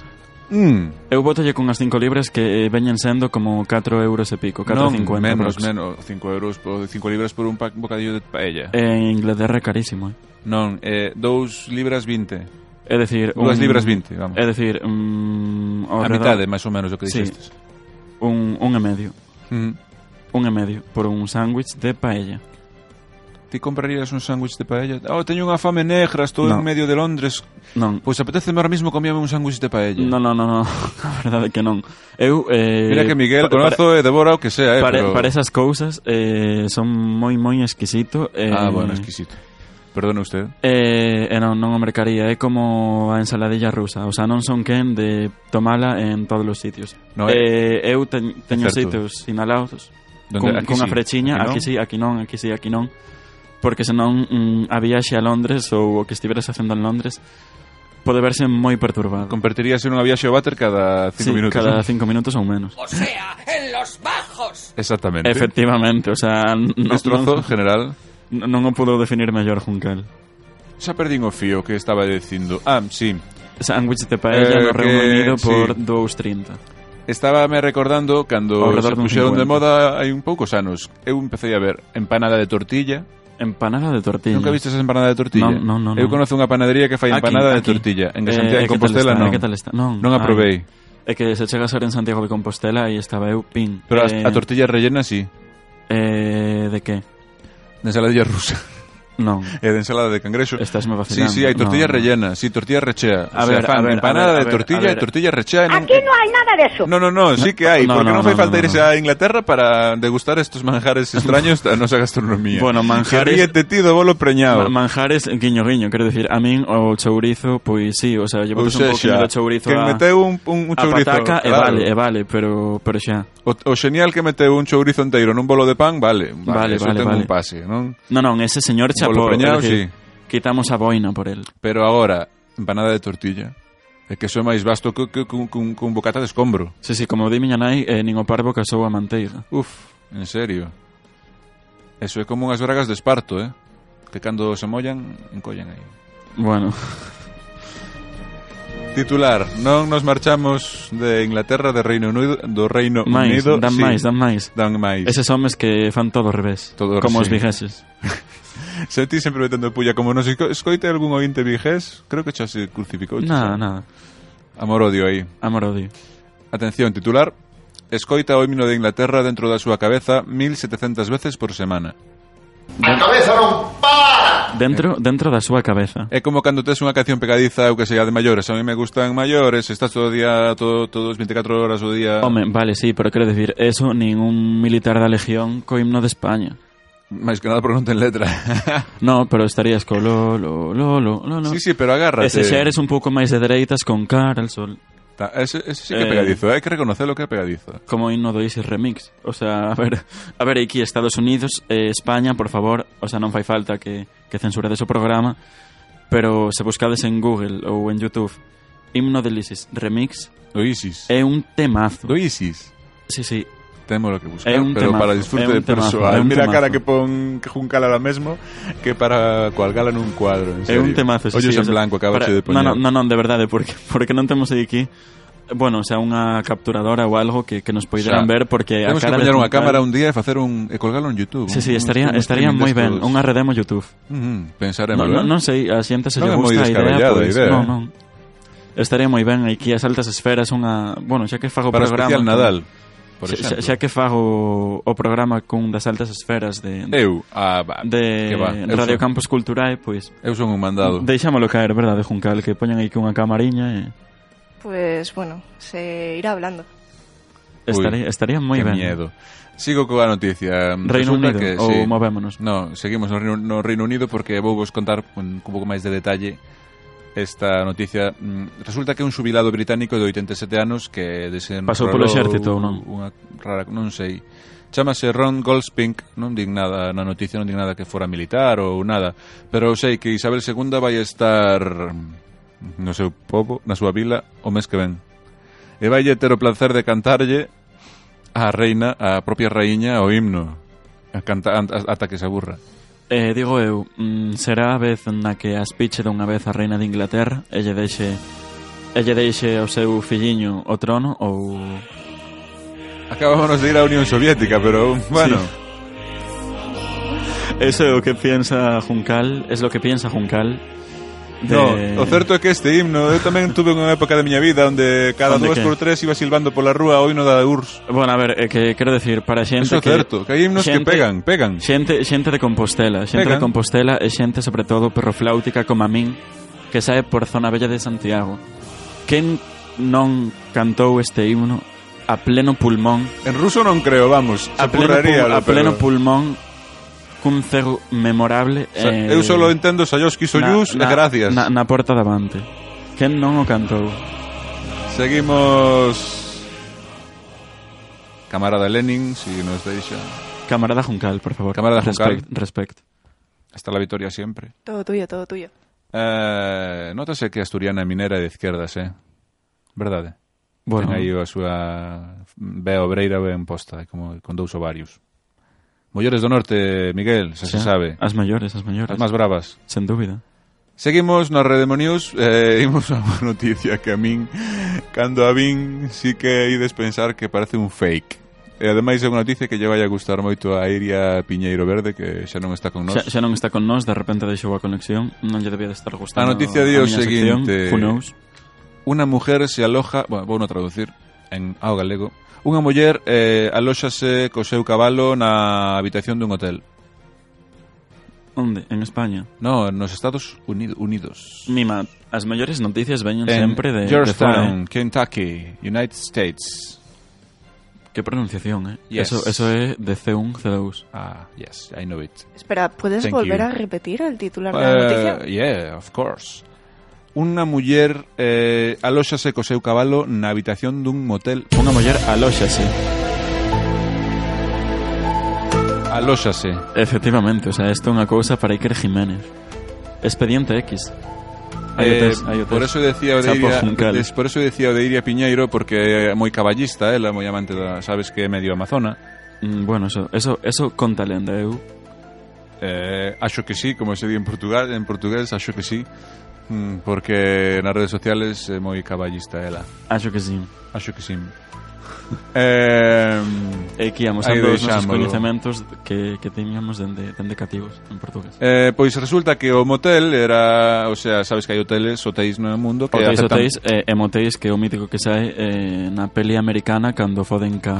Mm, Eu votolle con as 5 libras que eh, veñen sendo como 4 euros e pico, 4,50 non, euros. menos, menos 5 euros, 5 libras por un pa- bocadillo de paella En Inglaterra é carísimo, eh. Non, eh, 2 libras 20 É dicir, 2 libras 20, vamos É dicir, mm, ao A redor, mitade, máis ou menos, o que Sí. dixestes un, un e medio. Mm. Un e medio por un sándwich de paella. Ti comprarías un sándwich de paella? Oh, teño unha fame negra, estou no. No. en medio de Londres. Non, Pois apeteceme ahora mismo comíame un sándwich de paella. non, non, <laughs> non, non. a verdade é que non. Eu, eh, Mira que Miguel pa- para- conozo e devora o que sea, eh, Para, pero... para esas cousas eh, son moi moi exquisito eh, Ah, bueno, exquisito. Perdone usted. eh, eh, non, non o mercaría É como a ensaladilla rusa O sea, non son quen de tomala en todos os sitios No, eh, Eu teñ, teño certo. sitios sinalados Donde- con, aquí cunha sí, frechiña aquí non. Aquí, sí, aquí non, aquí sí, aquí non Porque senón mm, a viaxe a Londres Ou o que estiveras facendo en Londres pode verse moi perturbado. Convertiríase nunha viaxe ao váter cada cinco Sí, minutos. cada ¿no? cinco minutos ou menos. O sea, en los bajos. Exactamente. Efectivamente, o sea, non, Destrozo general. non, non o pudo definir mellor Juncal. Xa perdín o fío que estaba dicindo. Ah, sí. Sándwich de paella Eh, no Reino que- Unido sí. por 2.30. Estaba me recordando Ao cando redor se dun puxeron de 50. moda hai un poucos anos. Eu empecé a ver empanada de tortilla. Empanada de tortilla. Nunca viste esa empanada de tortilla? Non, non, non, Eu non. conozo unha panadería que fai Aquí, empanada de aquí. tortilla. En Eh, Santiago de que tal Compostela está, non. que tal está? Non, non ai. aprobei. É que se chegas ahora en Santiago de Compostela e estaba eu pin. Pero eh, a, a tortilla rellena sí. eh, de que? De ensaladilla rusa. Non. E de ensalada Eh, de cangrexo. Estásme Sí, vacilando. sí, hai tortilla No, no. rellena. Sí, tortilla rechea. A o sea, ver, fan a ver, empanada a ver, de a ver, tortilla, a ver. tortilla rechea. e non- Aquí no hay nada de eso. No, no, no, sí que hay, No, porque no, no, fai no, falta no, irse no. a Inglaterra para degustar estos <laughs> manjares extraños da nosa gastronomía. Bueno, manjares- Que ríete, ti, do bolo preñado. Ma- Manjares, guiño, guiño, quero dicir, a min o chourizo, pois sí, o sea, llevo Ou un pouquinho sexa, de chourizo que a, meteu un, un, un a chourizo. pataca, e claro. vale, eh. e vale, pero, pero xa. O, o xenial que meteu un chourizo enteiro nun bolo de pan, vale, Vale, vale, vale eso vale, ten vale. un pase, non? Non, non, ese señor Polo chapó, preñado, é dicir, quitamos a boina por el. Pero agora, empanada de tortilla, é que iso é máis vasto que, que, que, que, un, que un bocata de escombro. Sí, sí, como di miña nai, eh, nin o parvo casou a manteiga. Uf, en serio. Eso é como unhas bragas de esparto, eh? Que cando se mollan, encollan aí. Bueno, Titular, non nos marchamos de Inglaterra, de Reino Unido, do Reino <laughs> máis, Unido. dan sí, máis, dan máis. Dan máis. Eses homes que fan todo ao revés, Todo ao como os revés, sí. vigueses. Se ti sempre metendo pulla como nos esco- escoite algún ointe vigés, creo que xa se crucificou. Nada, nada, Amor odio aí. amor odio. Atención, titular. Escoita o himno de Inglaterra dentro da súa cabeza 1700 veces por semana. Dentro, dentro da súa cabeza. É como cando tes unha canción pegadiza ou que sea de maiores. A mí me gustan maiores, estás todo o día, todo, todos 24 horas o día... Home, vale, sí, pero quero decir, eso nin un militar da legión co himno de España. Máis que nada porque non ten letra. <laughs> No, pero estarías co lo, lo, lo, lo, lo, lo. sí, sí, pero agárrate. Ese xa eres un pouco máis de dereitas con cara al sol. Ta- Ese, ese sí que é Eh. pegadizo, hai que reconocer lo que é pegadizo. Como himno do Isis Remix. O sea, <laughs> a ver, a ver, aquí Estados Unidos, eh, España, por favor, o sea, non fai falta que, que censurades o programa, pero se buscades en Google ou en Youtube himno del Isis Remix Do ISIS. é un temazo. Do ISIS. Sí, sí, Temos lo que buscar, É un pero temazo, para disfrute é un de temazo, é persoal. un Mira a temazo. cara que pon que Juncal ahora mesmo que para cualgala nun cuadro. En É serio. un temazo, sí, Ollos sí, en o sea, blanco, acaba para- de poñer. No, no, no, non, de verdade, porque, <laughs> porque non temos aí aquí Bueno, o sea, unha capturadora ou algo que, que nos O sea, poideran ver porque a Temos que cara poñer de unha Juncal- cámara un día e facer un e colgalo en YouTube. Sí, sí, un- estaría, un estaría streaming moi ben destos. Unha redemo Youtube Mm, Non Pensaremos, eh? no, no sei, a xente se Non é lle moi gusta a idea, descabellada a pois, idea, non, eh. non. Estaría moi ben aquí as altas esferas unha, bueno, xa que fago o Para programa especial con- Nadal, por xa, xa, exemplo. xa que fago o programa cun das altas esferas de Eu, ah, va, que de va, eu Radio son- Campus Culturae, pois Eu son un mandado. deixámolo caer, verdade, Juncal, que poñan aí que unha camariña e Pues bueno, se irá hablando. estaría, estaría moi que ben. miedo. Sigo coa noticia. Reino Resulta Unido que, ou sí. movémonos. No, seguimos no Reino, no Reino Unido porque vou vos contar un, un pouco máis de detalle esta noticia. Mm, Resulta que un xubilado británico de 87 anos que desenrolou... Pasou polo exército ou non? Unha rara, non sei. Chámase Ron Goldspink, non din nada na noticia, non din nada que fora militar ou nada, pero sei que Isabel II vai estar no seu povo, na súa vila, o mes que ven. E vai ter o placer de cantarlle a reina, a propia raíña, o himno. A canta, an- a- ata que se aburra. Eh, digo eu, mm, será a vez na que as piche dunha vez a reina de Inglaterra e lle deixe e lle deixe ao seu filliño o trono ou Acabámonos de ir á Unión Soviética, pero bueno, Eso é o que piensa Juncal, es lo que piensa Juncal. de- no, o certo é que este himno eu tamén tuve unha época da miña vida onde cada Onde dúas que? por tres iba silbando pola rúa o himno da URSS. Bueno, a ver, eh, que quero decir, para xente Eso é que certo, que hai himnos que xente- pegan, pegan. Xente, xente de Compostela, xente Pegan. de Compostela e xente sobre todo perrofláutica como a min que sae por zona bella de Santiago. Quen non cantou este himno a pleno pulmón, En ruso non creo, vamos, a pleno, apurraría. pul- a pleno pulmón cun cego memorable O sea, eh, eu solo entendo Sayoski Soyuz e na, gracias. Na, na porta de avante. Quen non o cantou? Seguimos... Camarada Lenin, si nos deixa. Camarada Juncal, por favor. Camarada Juncal. Respect, respect. Hasta la victoria siempre. Todo tuyo, todo tuyo. Eh, nótase que a asturiana é minera de izquierdas, eh? Verdade. Bueno. Ten aí a súa Bea Obreira ben posta, eh, como con dous ovarios. Mollores do Norte, Miguel, xa se Xa, sabe. As maiores, as maiores. As máis bravas. Sen dúbida. Seguimos na Rede Mo News e <laughs> imos a unha noticia que a min cando a vin si que ides pensar que parece un fake. E ademais é unha noticia que lle vai a gustar moito a Iria Piñeiro Verde que xa non está con nós. Xa, xa non está con nós, de repente deixou a conexión. Non lle debía de estar A gustando noticia di o miña sección, seguinte. Who knows? Unha mujer se aloja, bueno, vou no traducir en ao galego. Unha muller eh, alóxase co seu cabalo na habitación dun hotel. Onde? En España. No, nos Estados Unido, Unidos. Mima, as maiores noticias veñen En sempre Mm, de, de fora. Georgetown, Kentucky, United States. eh. Que pronunciación, eh? Yes. Eso, eso é de C1, C2. Ah, yes, I know it. Espera, ¿puedes Thank volver you. a repetir el titular de la noticia? Eh, yeah, of course. Unha muller eh, alóxase co seu cabalo na habitación dun motel. Unha muller alóxase. Alóxase. Efectivamente, o sea, isto é unha cousa para Iker Jiménez. Expediente X. Hai Eh, hotéis, hai hotéis. por eso decía o de Chapo Iria, Juncal. des- por eso decía o de Iria Piñeiro porque é moi caballista, ela, moi amante da, sabes que é medio amazona. Mm, bueno, eso, eso, eso conta lenda, eu. Eh, acho que sí, como se di en Portugal, en portugués, acho que sí. Mm, porque nas redes sociales é moi caballista ela. Acho que sí. Acho <laughs> que sí. eh, E que íamos Aí ando os nosos deixámolo. coñecementos que, que teníamos dende, dende cativos en portugués. eh, pois resulta que o motel era, o sea, sabes que hai hoteles, hotéis no mundo que Hotéis, aceptan- hotéis, eh, e motéis que é o mítico que sai eh, na peli americana cando foden <laughs> ca,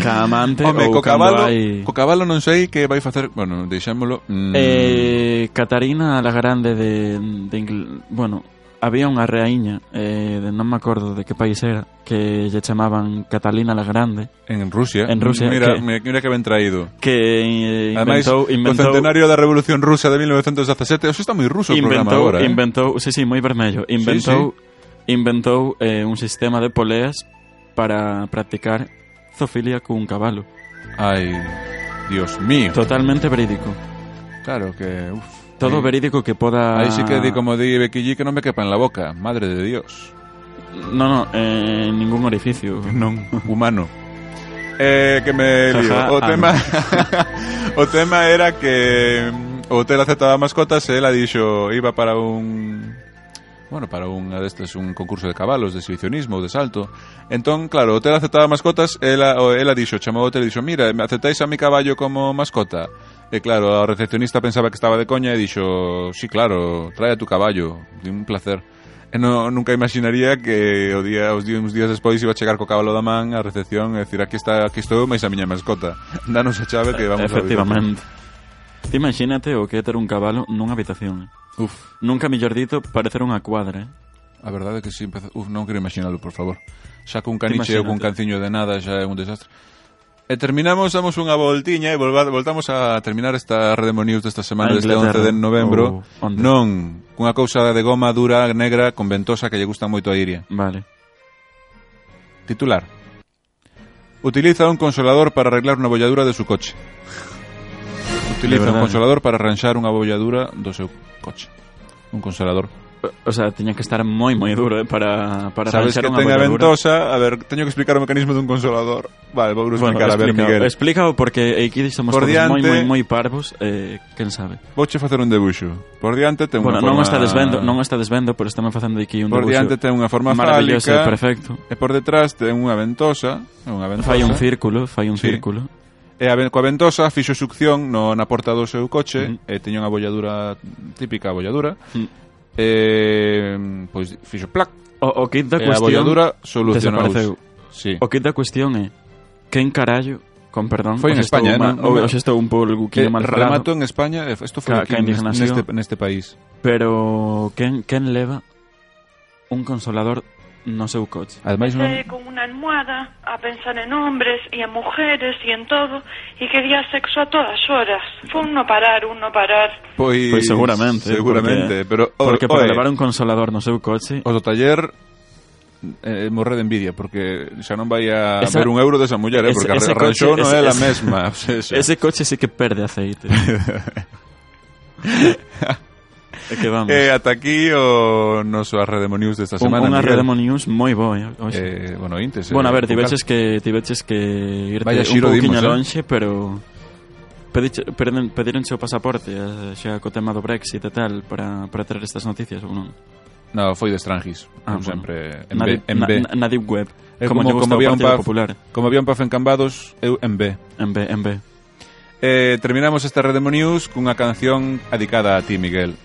ca amante Home, ou co cando cabalo, hai... co cabalo non sei que vai facer, bueno, deixámolo. Mm, Eh, Catarina la Grande de, de Ingl... Bueno, había unha reiña eh, de, non me acordo de que país era que lle chamaban Catalina la Grande En Rusia. En Rusia, Mira que- mira, mira que ben traído. que eh, Ademais, inventou, o inventou centenario da Revolución Rusa de 1917, eso está moi ruso o programa inventou, agora, eh? inventou, sí, sí, moi vermello, inventou inventou eh, un sistema de poleas para practicar zoofilia cun cabalo. Ai, Dios mío. Totalmente verídico. Claro que, uf. Ah. Todo Ahí- verídico que poda Aí sí que di como di Becky G que non me quepa en la boca, madre de Dios. No, no, eh, ningún <laughs> orificio. Non, humano. Eh, que me Jaja, lío. O ah, tema <laughs> O tema era que mm, o hotel aceptaba mascotas e ela dixo iba para un Bueno, para un destes un concurso de cabalos, de exhibicionismo, de salto. Entón, claro, o hotel aceptaba mascotas, ela, o- ela dixo, chamou ao hotel e dixo, mira, me aceptáis a mi caballo como mascota? E claro, a recepcionista pensaba que estaba de coña e dixo, sí, claro, trae a tu caballo, de un placer. E no, nunca imaginaría que o día, os días, uns días despois iba a chegar co cabalo da man a recepción e dicir, aquí está, aquí estou, mais a miña mascota. Danos a chave que vamos a Efectivamente. Ti imagínate o que é ter un cabalo nunha habitación. eh. Uf, Nunca mellor dito parecer unha cuadra, eh? a verdade é que si empeza... Uf, non quero imaginalo, por favor. Xa cun caniche ou cun Imagínate. canciño de nada xa é un desastre. E terminamos, damos unha voltiña e volva, voltamos a terminar esta Rede Mo News desta semana, A deste Inglaterra, 11 de novembro. ou onde? Non, cunha cousa de goma dura, negra, con ventosa que lle gusta moito a Iria. Vale. Titular. Utiliza un consolador para arreglar unha bolladura de su coche. Utiliza un verdade. consolador para arranxar unha bolladura do seu coche. Un consolador. O sea, tiña que estar moi moi duro, eh, para para Sabes que arranxar unha ten a bolladura. ventosa A ver, teño que explicar o mecanismo dun consolador Vale, vou explicar a ver, explícao, Miguel explícao porque aquí somos Por todos moi diante- moi moi parvos, eh, quen sabe. Vouche facer un debuxo Por diante ten unha Bueno, non forma o está desvendo, non o está desvendo, pero estamos facendo aquí un Por debuxo diante ten unha forma maravilloso, fálica perfecto. E por detrás ten unha ventosa Unha ventosa Fai un círculo, fai un Sí. círculo. E a, ven- coa ventosa fixo succión no, na porta do seu coche Mm. E teña unha bolladura Típica bolladura Mm. E... Pois fixo plac O, o kit da E a cuestión bolladura solucionou desapareceu. Sí. O kit da cuestión é quen carallo, con perdón, Foi en hoxe estou España, ma- non- non- hoxe estou un Eh, pouquiño mal falado. remato en España eh, Isto foi Ca- aquí ca indignación. neste, neste país Pero quen, quen leva un consolador no seu coche? Ademais non... con una almohada a pensar en hombres y en mujeres y en todo y quería sexo a todas horas. Fue un no parar, un no parar. Pois, Pois seguramente, Seguramente, porque- pero o- Porque para oe, levar un consolador no seu coche os do taller eh, morre de envidia porque xa non vai a Esa- ver un euro desa muller, eh, ese- porque ese arranxou coche- non ese- é a ese- <laughs> mesma, o sea, xa. <laughs> Ese coche sí que perde aceite. É que vamos. E ata aquí o noso Arredemo News desta Eh, Un, semana. unha Miguel. Red News moi boa. eh, hoxe. Eh, bueno, intes. bueno, a eh, ver, con tiveches calma. que tiveches que irte Vaya un xiro dimos, pouquiño eh. lonxe, pero pediche, perden, pedironche o pasaporte eh, xa co tema do Brexit e tal para, para traer estas noticias ou non? No, foi de Estrangis. Ah, Ah, bueno. sempre en B. Nadie, En na- B. na- Nadie web. Eh, como, como- lle gusta como o había un Partido paf- Popular. Como había un paf en Cambados, eu en B. En B, en B. Eh, terminamos esta Redemo News cunha canción adicada a ti, Miguel.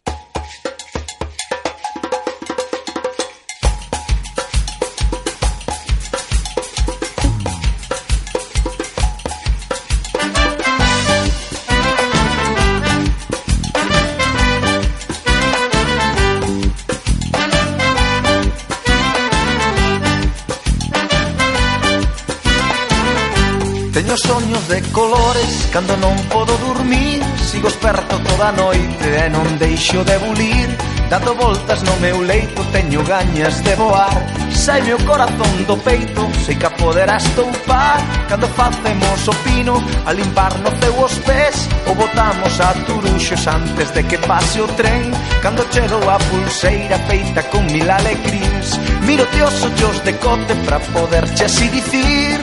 Teño soños de colores cando non podo dormir Sigo esperto toda a noite e non deixo de bulir Dando voltas no meu leito teño gañas de voar Sai meu corazón do peito, sei que a poderás toupar Cando facemos o pino a limpar no teu os pés Ou botamos a turuxos antes de que pase o tren Cando chego a pulseira feita con mil alecrins Miro te os ollos de cote pra poderche así dicir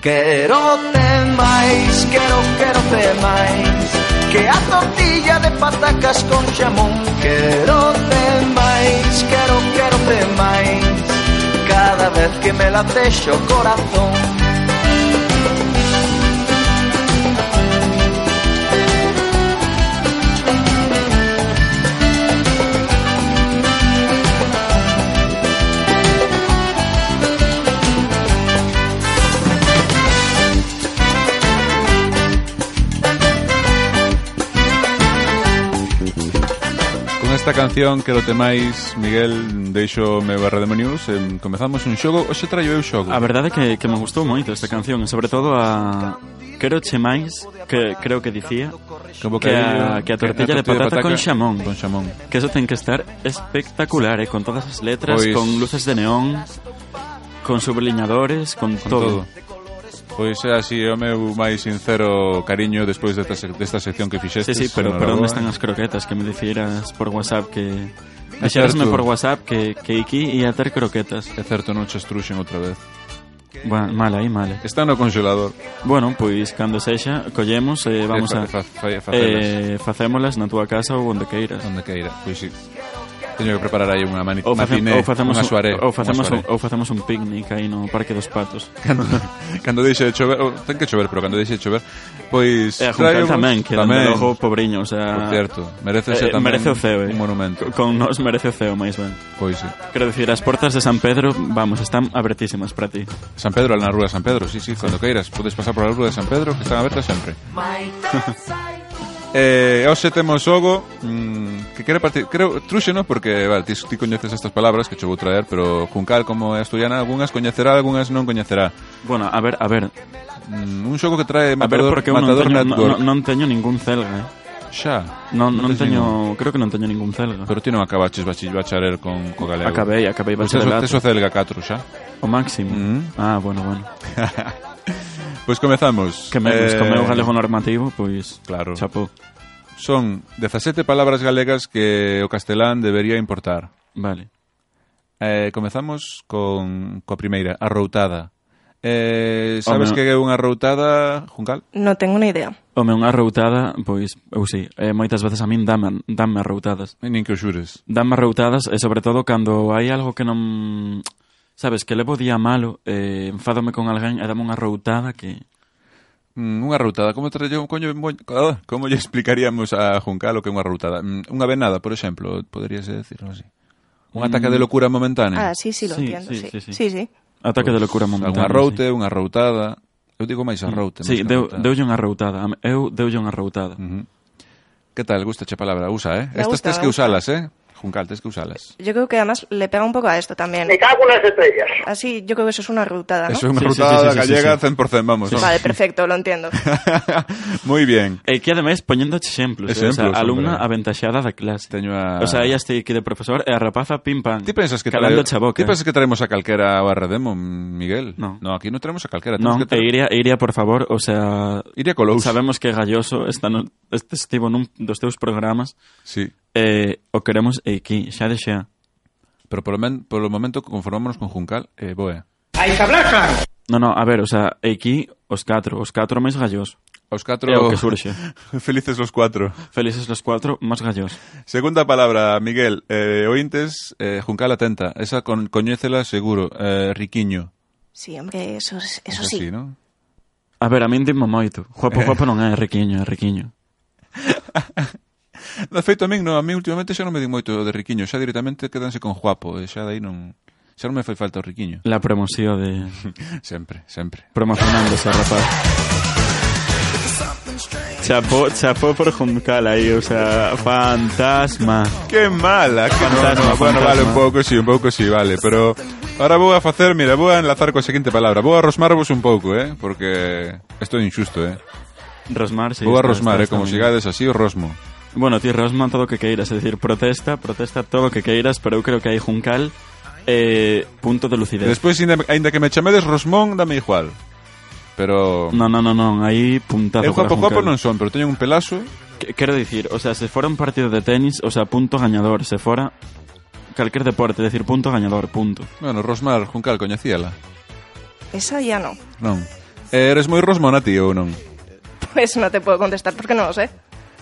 Quero te máis, quero, quero te máis Que a tortilla de patacas con xamón Quero te máis, quero, quero te máis Cada vez que me latexe o corazón Con esta canción que lo temáis, Miguel, deixo o meu Redemo News. Eh, comezamos un xogo. Oxe traio eu xogo. A verdade é que, que me gustou moito esta canción, e sobre todo a Quero che máis, que creo que dicía, Con que a, bocadillo, que a tortilla de patata, con xamón. Con xamón. Que eso ten que estar espectacular, eh, con todas as letras, Pois- con luces de neón, con subliñadores, con, Con todo. todo. Pois é así o meu máis sincero cariño despois desta, sec- desta sección que Sí, fixestes. sí, pero, pero onde Enhorabuena. están as croquetas que me dicieras por WhatsApp que... É Dixerasme certo. por WhatsApp que, que Iki ia ter croquetas. É certo, non che estruxen outra vez. Ba, mal aí, mal. eh. Está no congelador. Bueno, pois cando sexa, collemos e vamos a... Eh, fa, fa, fa, facelas. Eh, facémolas na túa casa ou onde queiras. Onde queira. Pois sí. Teño que preparar aí unha mani, Eh, Ou, facem, matiné, ou facemos, unha un, soaré. ou, facemos unha un, soaré. ou facemos un picnic aí no Parque dos Patos. Cando, cando deixe de chover, oh, ten que chover, pero cando deixe de chover, pois E Eh, a Juncal traemos- tamén, que dende logo pobriño, o Por sea... certo, merece eh, ser tamén merece o ceo, un eh. monumento. Con nos merece o ceo, máis ben. Pois sí. Quero dicir, as portas de San Pedro, vamos, están abertísimas para ti. San Pedro, na rúa de San Pedro, sí, sí, cando queiras, podes pasar por a rúa de San Pedro, que están abertas sempre. eh, hoxe temos xogo mm, que quero partir, creo, truxe, non? Porque, vale, ti, ti coñeces estas palabras que che vou traer, pero Juncal, como é asturiana, algunhas coñecerá, algunhas non coñecerá. Bueno, a ver, a ver, Mm, un xogo que trae a ver Matador, porque eu non Matador teño, Network. non, non teño ningún celga, eh. Xa. Non, non tes ningún. teño, creo que non teño ningún celga. Pero ti non acabaches bachi- bacharel con, co galego. Acabei, acabei Pois tes o- bacharelato. tes o Celga 4 xa. O máximo. Mm. Ah, bueno, bueno. Pois comezamos. Que menos, eh... comeu galego normativo, pois... Claro. Chapó. Son 17 palabras galegas que o castelán debería importar. Vale. Eh, comezamos con coa primeira, arroutada. Eh, sabes Home. que é unha arroutada, Juncal? No tengo una idea. eh. Home, unha arroutada, pois, eu sei, eh, moitas veces a min daman, danme arroutadas. E Nin que o xures. Danme arroutadas e sobre todo cando hai algo que non... Sabes, que levo día malo, eh, enfádome con alguén e dame unha arroutada que... Mm, unha arroutada, como tra- yo- coño, mo- ah, como lle explicaríamos a Juncal o que é unha arroutada? Mm, unha venada, por exemplo, poderías decirlo así. Un ataque Mm. de locura momentánea. Ah, sí, sí, lo Sí, entiendo. sí, Sí, sí, sí, sí. sí. Ataque de locura Algún momentánea. arroute, unha arroutada. Eu digo máis arroute. máis Mm. Sí, sí que Mm. deu, arroutada. deulle unha arroutada. A me- Eu deulle unha arroutada. Que tal? Gusta che palabra? Usa, eh? Me Estas gusta, tes me que gusta. usalas, eh? Juncal, tens que usalas. Yo creo que además le pega un poco a esto también. Me cago en las estrellas. Así, yo creo que eso es una rutada, ¿no? Eso es una rutada gallega 100%, vamos. Vale, perfecto, lo entiendo. <laughs> Moi ben. E que ademais poñéndoche exemplos, exemplos eh? Exemplos, o sea, alumna hombre. aventaxada da clase. Teño a... O sea, ella este aquí de profesor e a rapaza pim pam. Ti pensas que calando trae- a boca. Ti pensas que traemos a calquera ao Arredemo, Miguel? No. no, aquí non traemos a calquera. Non, temos que e iría, e iría, por favor, o sea... Iría colous. Sabemos que Galloso está no, este estivo nun dos teus programas. Sí. Eh, o queremos e aquí, xa de xa. Pero polo, men, polo momento conformámonos con Juncal e eh, Boe. Hay que hablar claro. No, no, a ver, o sea, e aquí os catro, os catro máis gallos. Os catro... É o que surxe. <laughs> Felices los cuatro. Felices los cuatro, máis gallos. Segunda palabra, Miguel. Eh, ointes, eh, Juncal atenta. Esa con, coñécela seguro. Eh, riquiño. Sí, hombre, eso, es- eso Es sí. así, ¿no? A ver, a min dimo moito. Guapo, guapo non é, riquiño, é riquiño. De feito, a min, no, a mí últimamente xa non me din moito de riquiño. Xa directamente quédanse con Juapo. E xa dai non... Xa non me fai falta o riquiño. La promoción de... Sempre, sempre. Promocionándose, rapaz. Chapó, chapó por Juncal aí, o sea, fantasma. Que mala, que Fantasma, no, no, Bueno, fantasma. vale, un pouco sí, un pouco sí, vale, pero ahora vou a facer, mira, vou a enlazar coa seguinte palabra. Vou a rosmarvos un pouco, eh, porque isto é injusto, eh. Rosmar, sí. vou a está- rosmar, eh, está- como está sigades así o rosmo. bien. Bueno, ti Rosman todo o que queiras, é dicir, protesta, protesta todo o que queiras, pero eu creo que hai Juncal eh, punto de E lucidez. Despois, ainda, ainda que me chamedes Rosmón, dame igual. Pero... No, no, no, non, aí puntado Eu para guapo guapo Juncal. non son, pero teño un pelazo Qu- Quero dicir, o sea, se fora un partido de tenis, o sea, punto gañador, se fora calquer deporte, decir punto gañador, punto. Bueno, Rosmar, Juncal, coñecíala Esa ya no. Non Eh, Eres moi rosmona ti ou non? Pues no te puedo contestar porque no lo sé.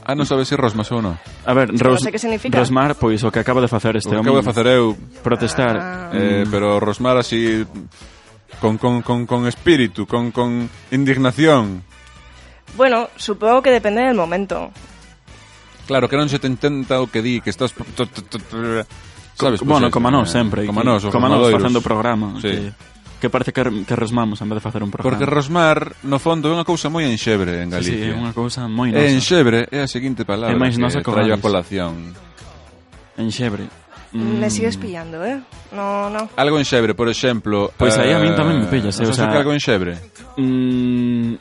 Ah, non sabes se rosmas ou non A ver, que non Ros sei que significa. Rosmar, pois o que acaba de facer este Mm. O que home. acabo de facer eu Protestar. Eh, pero Rosmar así con, con, con, con espíritu, con, con indignación. Bueno, supongo que depende del momento. Claro, que non se te intenta o que di, que estás... Sabes, pois, bueno, como a eh, nós sempre. Como a que- nós, os como a nós rosmadoiros. facendo programa. Sí. Que, que parece que, que rosmamos en vez de facer un programa. Porque rosmar, no fondo, é unha cousa moi enxebre en Sí, sí, Galicia. é unha cousa moi E nosa. enxebre é a seguinte palabra É máis que nosa que o traio a Gales. colación. Enxebre. Mm. Mm, Me sigues pillando, ¿eh? No, no. Algo enxebre, por exemplo... Pois aí a min eh, tamén me pillas, eh, non o sabes sea- o que algo enxebre? Mm,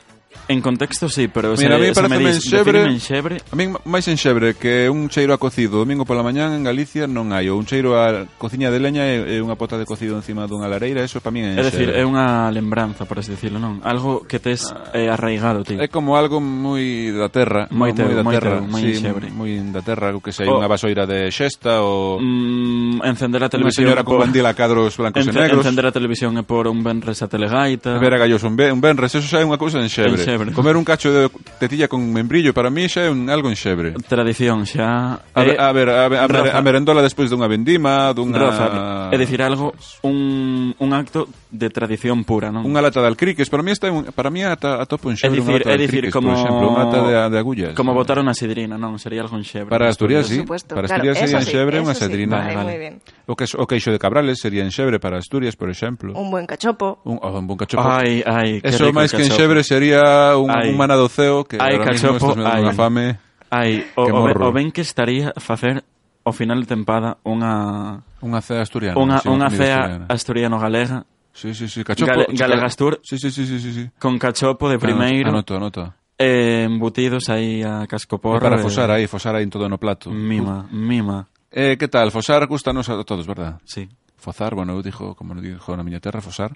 en contexto sí, pero Mira, a mí se, se me pareceme dis, enxebre- defíneme enxebre, A min máis enxebre que un cheiro a cocido domingo pola mañán en Galicia non hai. Ou un cheiro a cociña de leña e, e unha pota de cocido encima dunha lareira, eso para min é é enxebre. decir, é unha lembranza, por así decirlo, non? Algo que tes eh, arraigado, ti. É como algo moi da terra, Moi teu, da moi terra, teu, moi sí, enxebre. moi da terra, algo que sei, O- unha vasoira de xesta ou Mm, encender unha a televisión señora por- con bandila cadros <laughs> blancos e Ence- negros. Encender a televisión e por un benres a telegaita. Ver a gallos un, be, un benres, eso xa é unha cousa enxebre. Enxebre. Comer un cacho de tetilla con membrillo para mí xa é un algo enxebre. Tradición xa... A, ver, Eh, a ver, a, ver, a, mer- Rafa. a merendola despois dunha vendima, dunha Roza, é dicir algo, un, un acto de tradición pura, non? unha lata de alcriques, para mí está un, para mí ata atopo é enxebre dicir, unha lata é de dicir alcriques, como por exemplo, unha lata de, de agullas. Como botar unha sidrina, non, sería algo enxebre. Para Asturias, Por sí. supuesto, Para claro, Asturias eso sería sí, enxebre eso unha sí. sadrina. Vale, Vale. Muy bien. O, que, o queixo de Cabrales sería enxebre para Asturias, por exemplo. Un buen cachopo. Un, oh, un buen cachopo. Ai, ai, que Eso rico máis el que cachopo. enxebre sería un, Ai. un manadoceo que Ai, ahora cachopo, mismo estás me dando ai. unha fame. Ai, o, Que o, ben, morro. o ben que estaría facer ao final de tempada unha Unha cea asturiana. unha, sí, unha comida cea asturiana. asturiano-galega Sí, sí, sí, cachopo. Gale- chica- Galegastur. Sí, sí, sí, sí, sí. sí. con cachopo de primeiro Ah, Anoto, anoto. e embutidos aí a Porra, cascoporro para e- fosar aí, fosar aí en todo no plato. Mima, mima, Eh, que tal? Fosar gustanos a todos, verdad? sí. Fozar, bueno, eu dixo, como dixo na miña terra, fosar.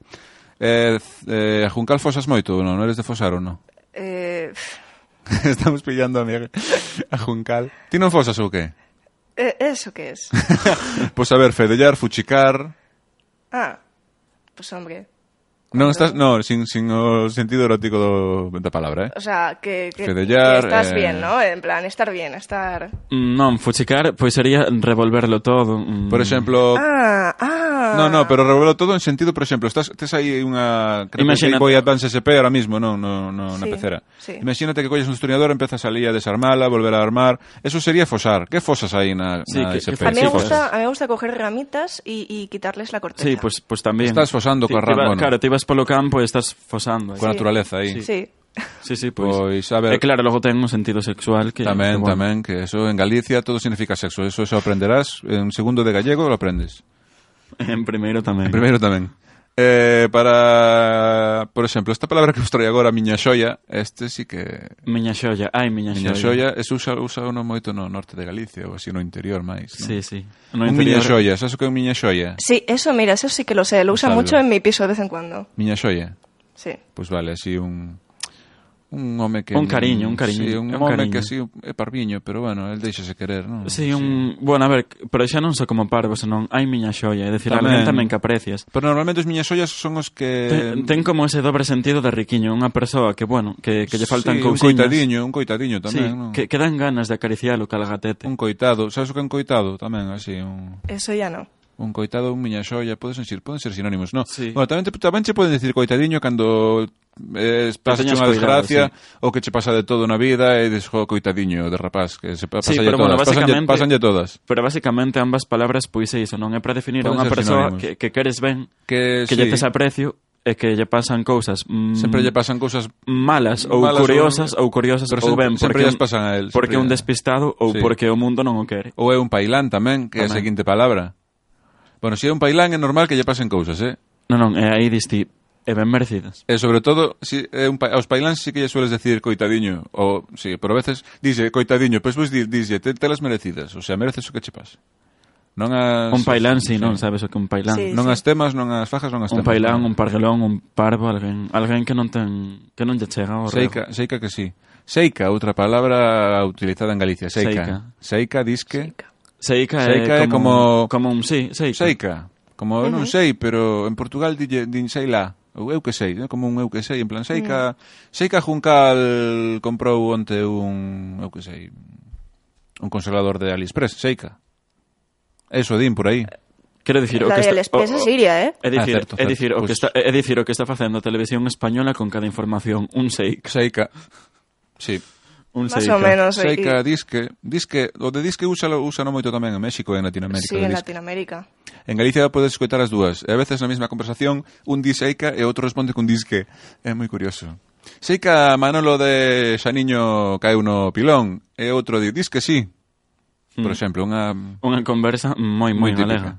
Eh, c- eh, a Juncal fosas moito, ou non? Non eres de fosar ou non? <laughs> Eh, Estamos pillando a, mi, a Juncal. Ti non fosas ou que? eh, ¿Eso qué es? Pois a ver, fedellar, fuchicar... Ah, pues hombre. Non estás, no, sin, sin o sentido erótico do, da palabra, eh? O sea, que, que, Fedellar, que eh, estás bien, ¿no? En plan, estar bien, estar... Mm, Non, fuchicar pois sería revolverlo todo. mm. Por exemplo... Ah, ah. Oh. No, no, pero revelo todo en sentido, por exemplo, estás tes aí unha creo que Imagínate. Game Boy Advance SP ahora mismo, non, no, no, na Sí, pecera. sí. Imagínate que colles un tuneador, empezas ali a desarmala, volver a armar, eso sería fosar. Que fosas aí na, Sí, na que- SP? que A mí, me sí, cosas. gusta, a mí me gusta coger ramitas y, y quitarles la corteza. Sí, pois pues, pues tamén. Estás fosando Ti- coa ti va- Ramona. Claro, te vas polo campo e estás fosando. aí. Coa naturaleza aí. Sí. Sí, sí, pois. Pois, a ver. E claro, logo ten un sentido sexual que Tamén, que, bueno. tamén, que eso en Galicia todo significa sexo. Eso, eso aprenderás en segundo de gallego, lo aprendes. En primeiro tamén. En primeiro tamén. Eh, para, por exemplo, esta palabra que vos traio agora, miña xoia, este sí que... Miña xoia, ai, miña xoia. Miña xoia, eso usa, usa uno moito no norte de Galicia, ou así no interior máis, non? Sí, sí. No un miña xoia, sabes o que é un miña xoia? Sí, eso, mira, eso sí que lo sé. Lo usa Salve. mucho en mi piso de vez en cuando. Miña xoia. Sí. Pois vale, así un un home que Un cariño, un cariño, Sí, un, é un home cariño. que así é parviño, pero bueno, el deixase querer, non? Sí, un... Bueno, a ver, pero xa non só como parvo, senón ai miña xoia, é dicir, Tamén. tamén, tamén que aprecias. Pero normalmente os miñas xollas son os que Ten, ten como ese dobre sentido de riquiño, unha persoa que, bueno, que, que lle sí, faltan un cousiñas. coitadiño, un coitadiño tamén, sí, non? que, que dan ganas de acariciar o calgatete. Un coitado, sabes o que é un coitado tamén, así un Eso ya no. un coitado, un miña xoia, podes decir, poden ser sinónimos, non? Sí. Bueno, tamén te, tamén che poden decir coitadiño cando eh, pasas teñas unha coidado, desgracia ou que che pasa de todo na vida e dis, jo, coitadiño de rapaz, que se pa- Sí, pasalle pero bueno, todas, basicamente... pasanlle, pasanlle todas. Pero basicamente ambas palabras pois é iso, non é para definir a Poden unha ser persoa sinónimos. que, que queres ben, Que, que sí. lle tes aprecio e que lle pasan cousas... Mm, Sempre lle pasan cousas malas ou malas curiosas ou, curiosas Pero ou sempre- ben sempre porque lles pasan a él, porque sempre un lle- despistado ou Sí. porque o mundo non o quere. Ou é un pailán tamén, que é a Tamén. seguinte palabra. Bueno, se é un pailán é normal que lle pasen cousas, eh? Non, non, é aí diste e ben merecidas. E sobre todo, si é un pa... aos pailáns si que lle sueles decir coitadiño, ou si, sí, pero a veces dixe coitadiño, pois vos di- dixlle, te, telas merecidas, o sea, mereces o que che pase. Non as Un pailán, si, non sabes o que é un pailán. Sí, non as temas, non as fajas, non as un temas. pailán, un parguelón, un parvo, alguén, alguén que non ten que non lle chega ao rego. Seica, seica que sí. Seica, outra palabra utilizada en Galicia, seica. Seica, disque. Seica, Seica é é como como un sí, seica. Seica. Como uh -huh. non Ujú. sei, pero en Portugal dille din sei lá, ou eu que sei, né? como un eu que sei, en plan Mm. Seica, Seica Juncal comprou onte un, eu que sei, un conservador de AliExpress, Seica. Eso din por aí. Quero dicir, o que Oh, La de está, Aliexpress o- é o- Siria, eh? É dicir, Ah, certo, é certo, dicir, o que pois. está, é dicir o que está facendo a televisión española con cada información, un seica. Seica. Sí. Un eh. Más seica. o menos, aí. Seica disque, disque, o de disque úsalo, úsano moito tamén en México e en Latinoamérica. Sí, o en disque. Latinoamérica. En Galicia podes escoitar as dúas. E a veces na mesma conversación, un di seica e outro responde cun disque. É moi curioso. Seica Manolo de Xaniño caeu no pilón e outro di disque sí. Hmm. Por Mm. exemplo, unha Unha conversa moi Moi moi típica. galega.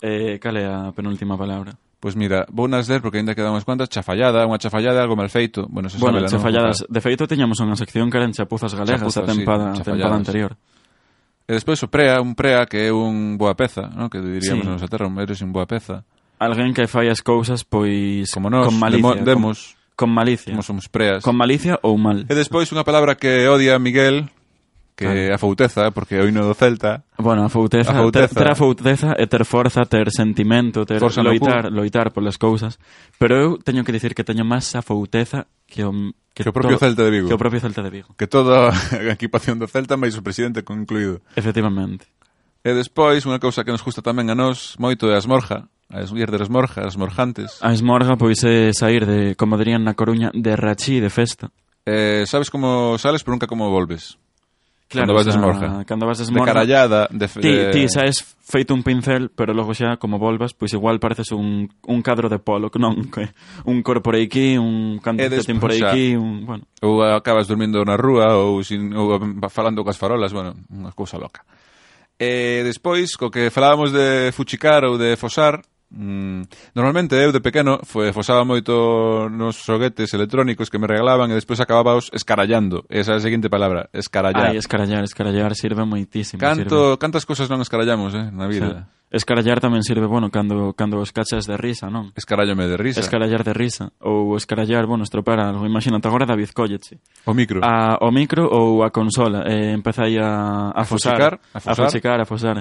Eh, cal é a penúltima palabra? Pois mira, vou nas der porque ainda quedan unhas cuantas Chafallada, unha chafallada, algo mal feito Bueno, se Bueno, sabe, chafalladas. De feito, teñamos unha sección que eran chapuzas galegas Chapuzas, a tempada, sí, a tempada chafalladas. anterior. E despois o prea, un prea que é un boa peza ¿no? Que diríamos sí. Sí. en nosa terra, eres un boa peza Alguén que fai as cousas, pois... Como nós, con malicia, demo- demos. Con, con malicia. Como somos preas Con malicia ou mal. E despois unha palabra que odia Miguel Que é Ah. a fouteza, porque o hino do Celta Bueno, a fouteza, A a fouteza. fouteza. Ter, ter a fouteza é ter forza, ter sentimento, ter Forza forza no loitar, loitar polas cousas, pero eu teño que dicir que teño máis a fouteza que o Que o propio Celta de Vigo. Que o propio Celta de Vigo. que toda <laughs> a equipación do Celta máis o presidente concluído. Efectivamente. E despois, unha cousa que nos gusta tamén a nós moito é a esmorja, a esguir de esmorja, as morjantes. A esmorga pois é sair de, como dirían na Coruña, de rachí de festa. Eh, sabes como sales, pero nunca como volves. Claro, cando vas de o sea, esmorja. Cando vas de esmorga. De carallada, de... fe- Ti, de- ti saes feito un pincel, pero logo xa, como volvas, pois igual pareces un, un cadro de polo, que non, que- un cor por aquí, un canticetín por despois xa- aquí, un... Bueno. Ou acabas dormindo na rúa ou, sin, ou falando coas farolas, bueno, unha cousa loca. E despois, co que falábamos de fuchicar ou de fosar, mm, normalmente eu de pequeno foi, fosaba moito nos xoguetes electrónicos que me regalaban e despois acabábaos escarallando. Esa é a seguinte palabra, escarallar. Ai, escarallar, escarallar sirve moitísimo. sirve. Canto, cantas cousas non escarallamos, eh, na vida. Sí. Escarallar tamén sirve, bueno, cando, cando os cachas de risa, non? Escarallome de risa. Escarallar de risa. Ou escarallar, bueno, estropear algo. Imagínate, agora David Colleche. O micro. A, o micro ou a consola. Eh, empezai a, A a, fosar. fusicar, a fosar. fusicar, a fosar.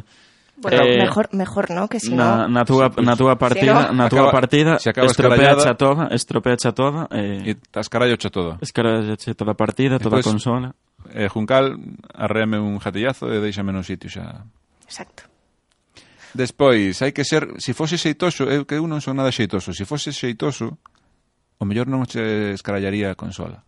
Bueno, Eh, mejor, mejor no, que si na, na no... túa, na túa partida, Si na túa Acaba- partida se acaba estropea escarallada. toda, estropea toda, eh, E escarallocho todo. escarallache toda a partida, toda a Despois- consola. Eh, Juncal, arréame un jatillazo e deixame no sitio xa. Exacto. Despois, hai que ser, se fose xeitoso, eu que eu non son nada xeitoso, se fose xeitoso, o mellor non che escarallaría a consola.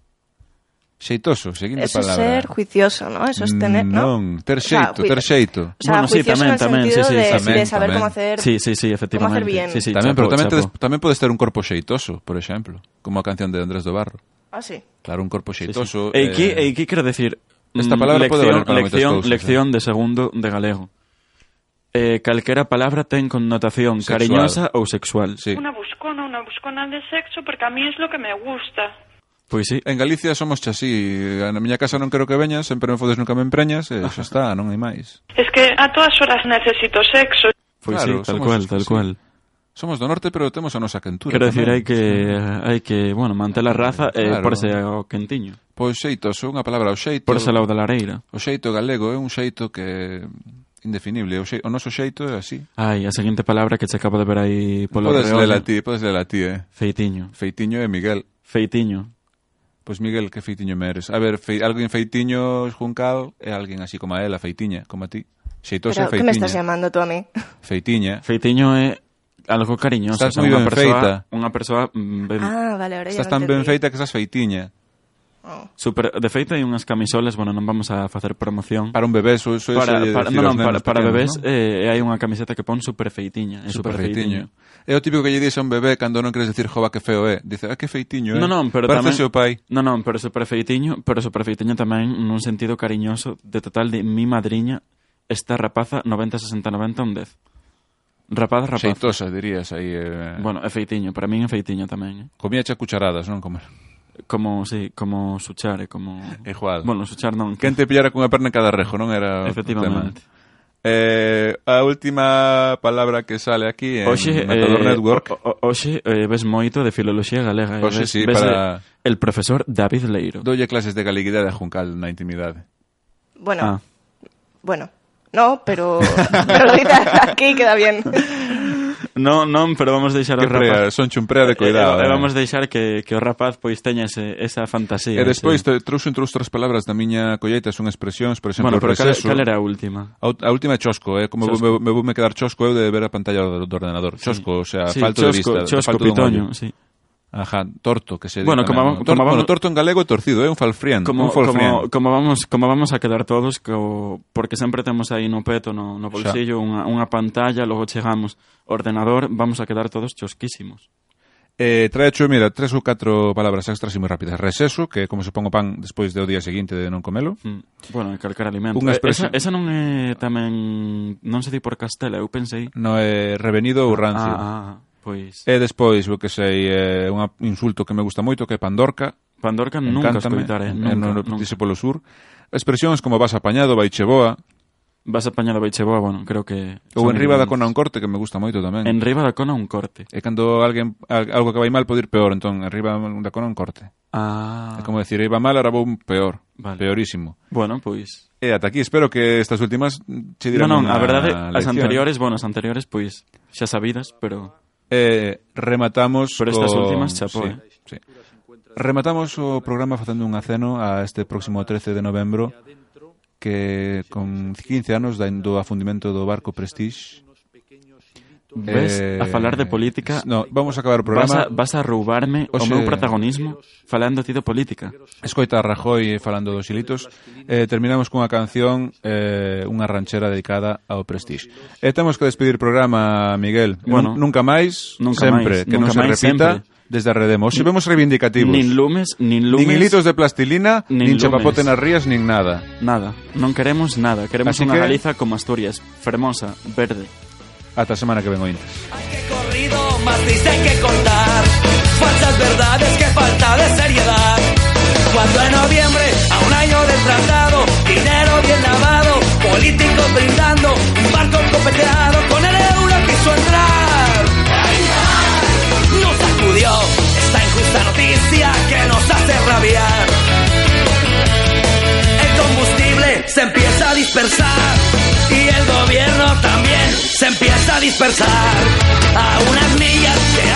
Xeitoso, seguinte Eso es palabra. ser juicioso, ¿no? Eso es tener, ¿no? Non, ter xeito, ter xeito. O sea, Bueno, sí, juicioso tamén, en el tamén, sentido sí, sí, de, tamén, de saber tamén. cómo hacer... Sí, sí, sí, Cómo hacer efectivamente. bien. Sí, sí, tamén, chapo, pero tamén, chapo. tedes- tamén podes ter un corpo xeitoso, por exemplo, como a canción de Andrés do Barro. Ah, sí. Claro, un corpo xeitoso. E que, eh, e que quero decir Esta mm, palabra pode lección, valer para eh. moitas lección, cousas, lección de segundo de galego eh, Calquera palabra ten connotación Sexual. cariñosa ou sexual sí. Una buscona, una buscona de sexo, porque a mí es lo que me gusta. Pois sí En Galicia somos chasí, na miña casa non quero que veñas, sempre me fodes, nunca me empreñas, e xa está, non hai máis. Es que a todas horas necesito sexo. Pois Claro, sí, tal somos cual, así, tal sí. cual. Somos do norte, pero temos a nosa cantura. Quero decir, hai tamén. que hai que, bueno, manter a raza e Claro. porse ao quentiño. Pois xeitoso, unha palabra, o xeito... Porse ao da lareira. O xeito galego é un xeito que é indefinible. O, xeito, o noso xeito é así. Ai, a seguinte palabra que che acabo de ver aí polo Podes reoño. lela ti, podes lela ti, eh. Feitiño. Feitiño é Miguel. Feitiño. Pois Miguel, que feitiño me eres? A ver, fe, alguén feitiño esjuncado é alguén así como a ela, feitiña, como a ti. Xeitoso Pero, é ¿qué me estás feitiña. llamando tú a mí? Feitiña. Feitiño é algo cariñoso, Estás o sea, moi unha ben persoa, feita. unha persoa mm, ben Ah, vale, ahora ya Estás lo tan ben entendí. feita que estás feitiña. super, de feito hai unhas camisolas, bueno, non vamos a facer promoción. Para un bebé, eso, eso para, eso, para, decir aos non, non, para, nenos para pequenos, bebés non? eh, hai unha camiseta que pon super feitiña, é super, feitiño. É o típico que lle dis a un bebé cando non queres dicir jova que feo é. Dice, ah, que feitiño, eh. Non, non, pero Parece tamén- o pai. Non, non, pero super feitiño, pero super feitiño tamén nun sentido cariñoso de total de mi madriña esta rapaza 90-60-90 un 10. Rapaz, rapaz. Xeitosa, dirías aí. Eh. Bueno, é feitiño, para min é feitiño tamén. Eh. Comía che cucharadas, non comer. Como, sí, como suchar, eh, como... Igual. Bueno, suchar non. Quen te pillara cunha perna en cada rejo, non era o Efectivamente. tema. Eh, a última palabra que sale aquí en Oxe, Matador eh, Network. o- o- Oxe, eh, ves moito de filoloxía galega. Eh, Oxe, ves, sí, ves para- eh, el profesor David Leiro. Doulle clases de galeguidade a Juncal na intimidade. Ah, Bueno, bueno. No, <laughs> pero, pero lo dices aquí queda bien. non, non, pero vamos deixar Que o prea, rapaz... son chumprea de cuidado. E, e, eh. vamos deixar que, que o rapaz pois teña ese, esa fantasía. E despois ese- te trouxen outras palabras da miña colleita, son expresións, por exemplo, Bueno, pero cal, receso. cal era a última? A ú- a última é chosco, eh? como Chosco. me, me vou me quedar chosco eu de ver a pantalla do, do ordenador. Chosco, o sea, Sí, falto de chosco, vista. chosco falto dun pitoño, ollo. sí. Ajá, torto, que se Bueno, di como tamén, va- ¿no? Torto- como bueno, vamos- torto en galego é torcido, é un falfrián. un Como, falfrián. como, como, vamos, como vamos a quedar todos co, porque sempre temos aí no peto, no, no bolsillo, unha, unha pantalla, logo chegamos ordenador, vamos a quedar todos chosquísimos. Eh, traecho, mira, tres ou catro palabras extras e moi rápidas. Reseso, que é como se pon o pan despois do día seguinte de non comelo. Mm. Bueno, en calquera alimento. Unha Eh, Esa, expresión- esa non é tamén... Non se di por Castela, eu pensei... No é revenido ou rancio. Ah, ah, pois... E despois, o que sei, é un insulto que me gusta moito, que é pandorca. Pandorca nunca Encántame, eh, escoitaré, nunca, non o nunca. dice polo sur. Expresións como vas apañado, baiche boa, Vas apañado baiche boa, bueno, creo que... ou son en riba da evidentes. cona un corte, que me gusta moito tamén. En riba da cona un corte. E cando alguén al- algo que vai mal pode ir peor, entón arriba da cona un corte. Ah. É como decir, iba mal, ahora vou peor, Vale. peorísimo. Bueno, pois. E ata aquí, espero que estas últimas che Non, dirán non, unha a verdade, as lección. anteriores, bueno, as anteriores pois xa sabidas, pero Eh, rematamos Pero estas co- últimas, sí, chapó, eh. sí. Rematamos o programa facendo un aceno a este próximo 13 de novembro que con 15 anos da do afundimento do barco Prestige ves eh, a falar de política No, vamos a acabar o vas a, programa. vas a roubarme o Oxe. meu protagonismo falando ti de política. Escoita a Rajoy falando dos hilitos eh, Terminamos cunha canción eh, Unha ranchera dedicada ao Prestige E temos que despedir o programa, Miguel Bueno. Nun- Nunca máis, Nunca sempre máis, Que non nunca se máis, repita sempre. desde a Redemo Hoxe vemos reivindicativos Nin lumes, nin lumes, Nin hilitos de plastilina, Nin nin, lumes. chapapote nas rías, nin nada nada. Non queremos nada, queremos Así unha que- Galiza como Asturias, fermosa, verde. Ata a semana que ven ointes corrido, más dicen que contar. Falsas verdades, que falta de seriedad. Cuando en noviembre, a un año del tratado, dinero bien lavado, políticos brindando, un barco copeteado, con el euro quiso entrar. Nos sacudió esta injusta noticia que nos hace rabiar. El combustible se empieza a dispersar y el gobierno también se empieza a dispersar a unas millas de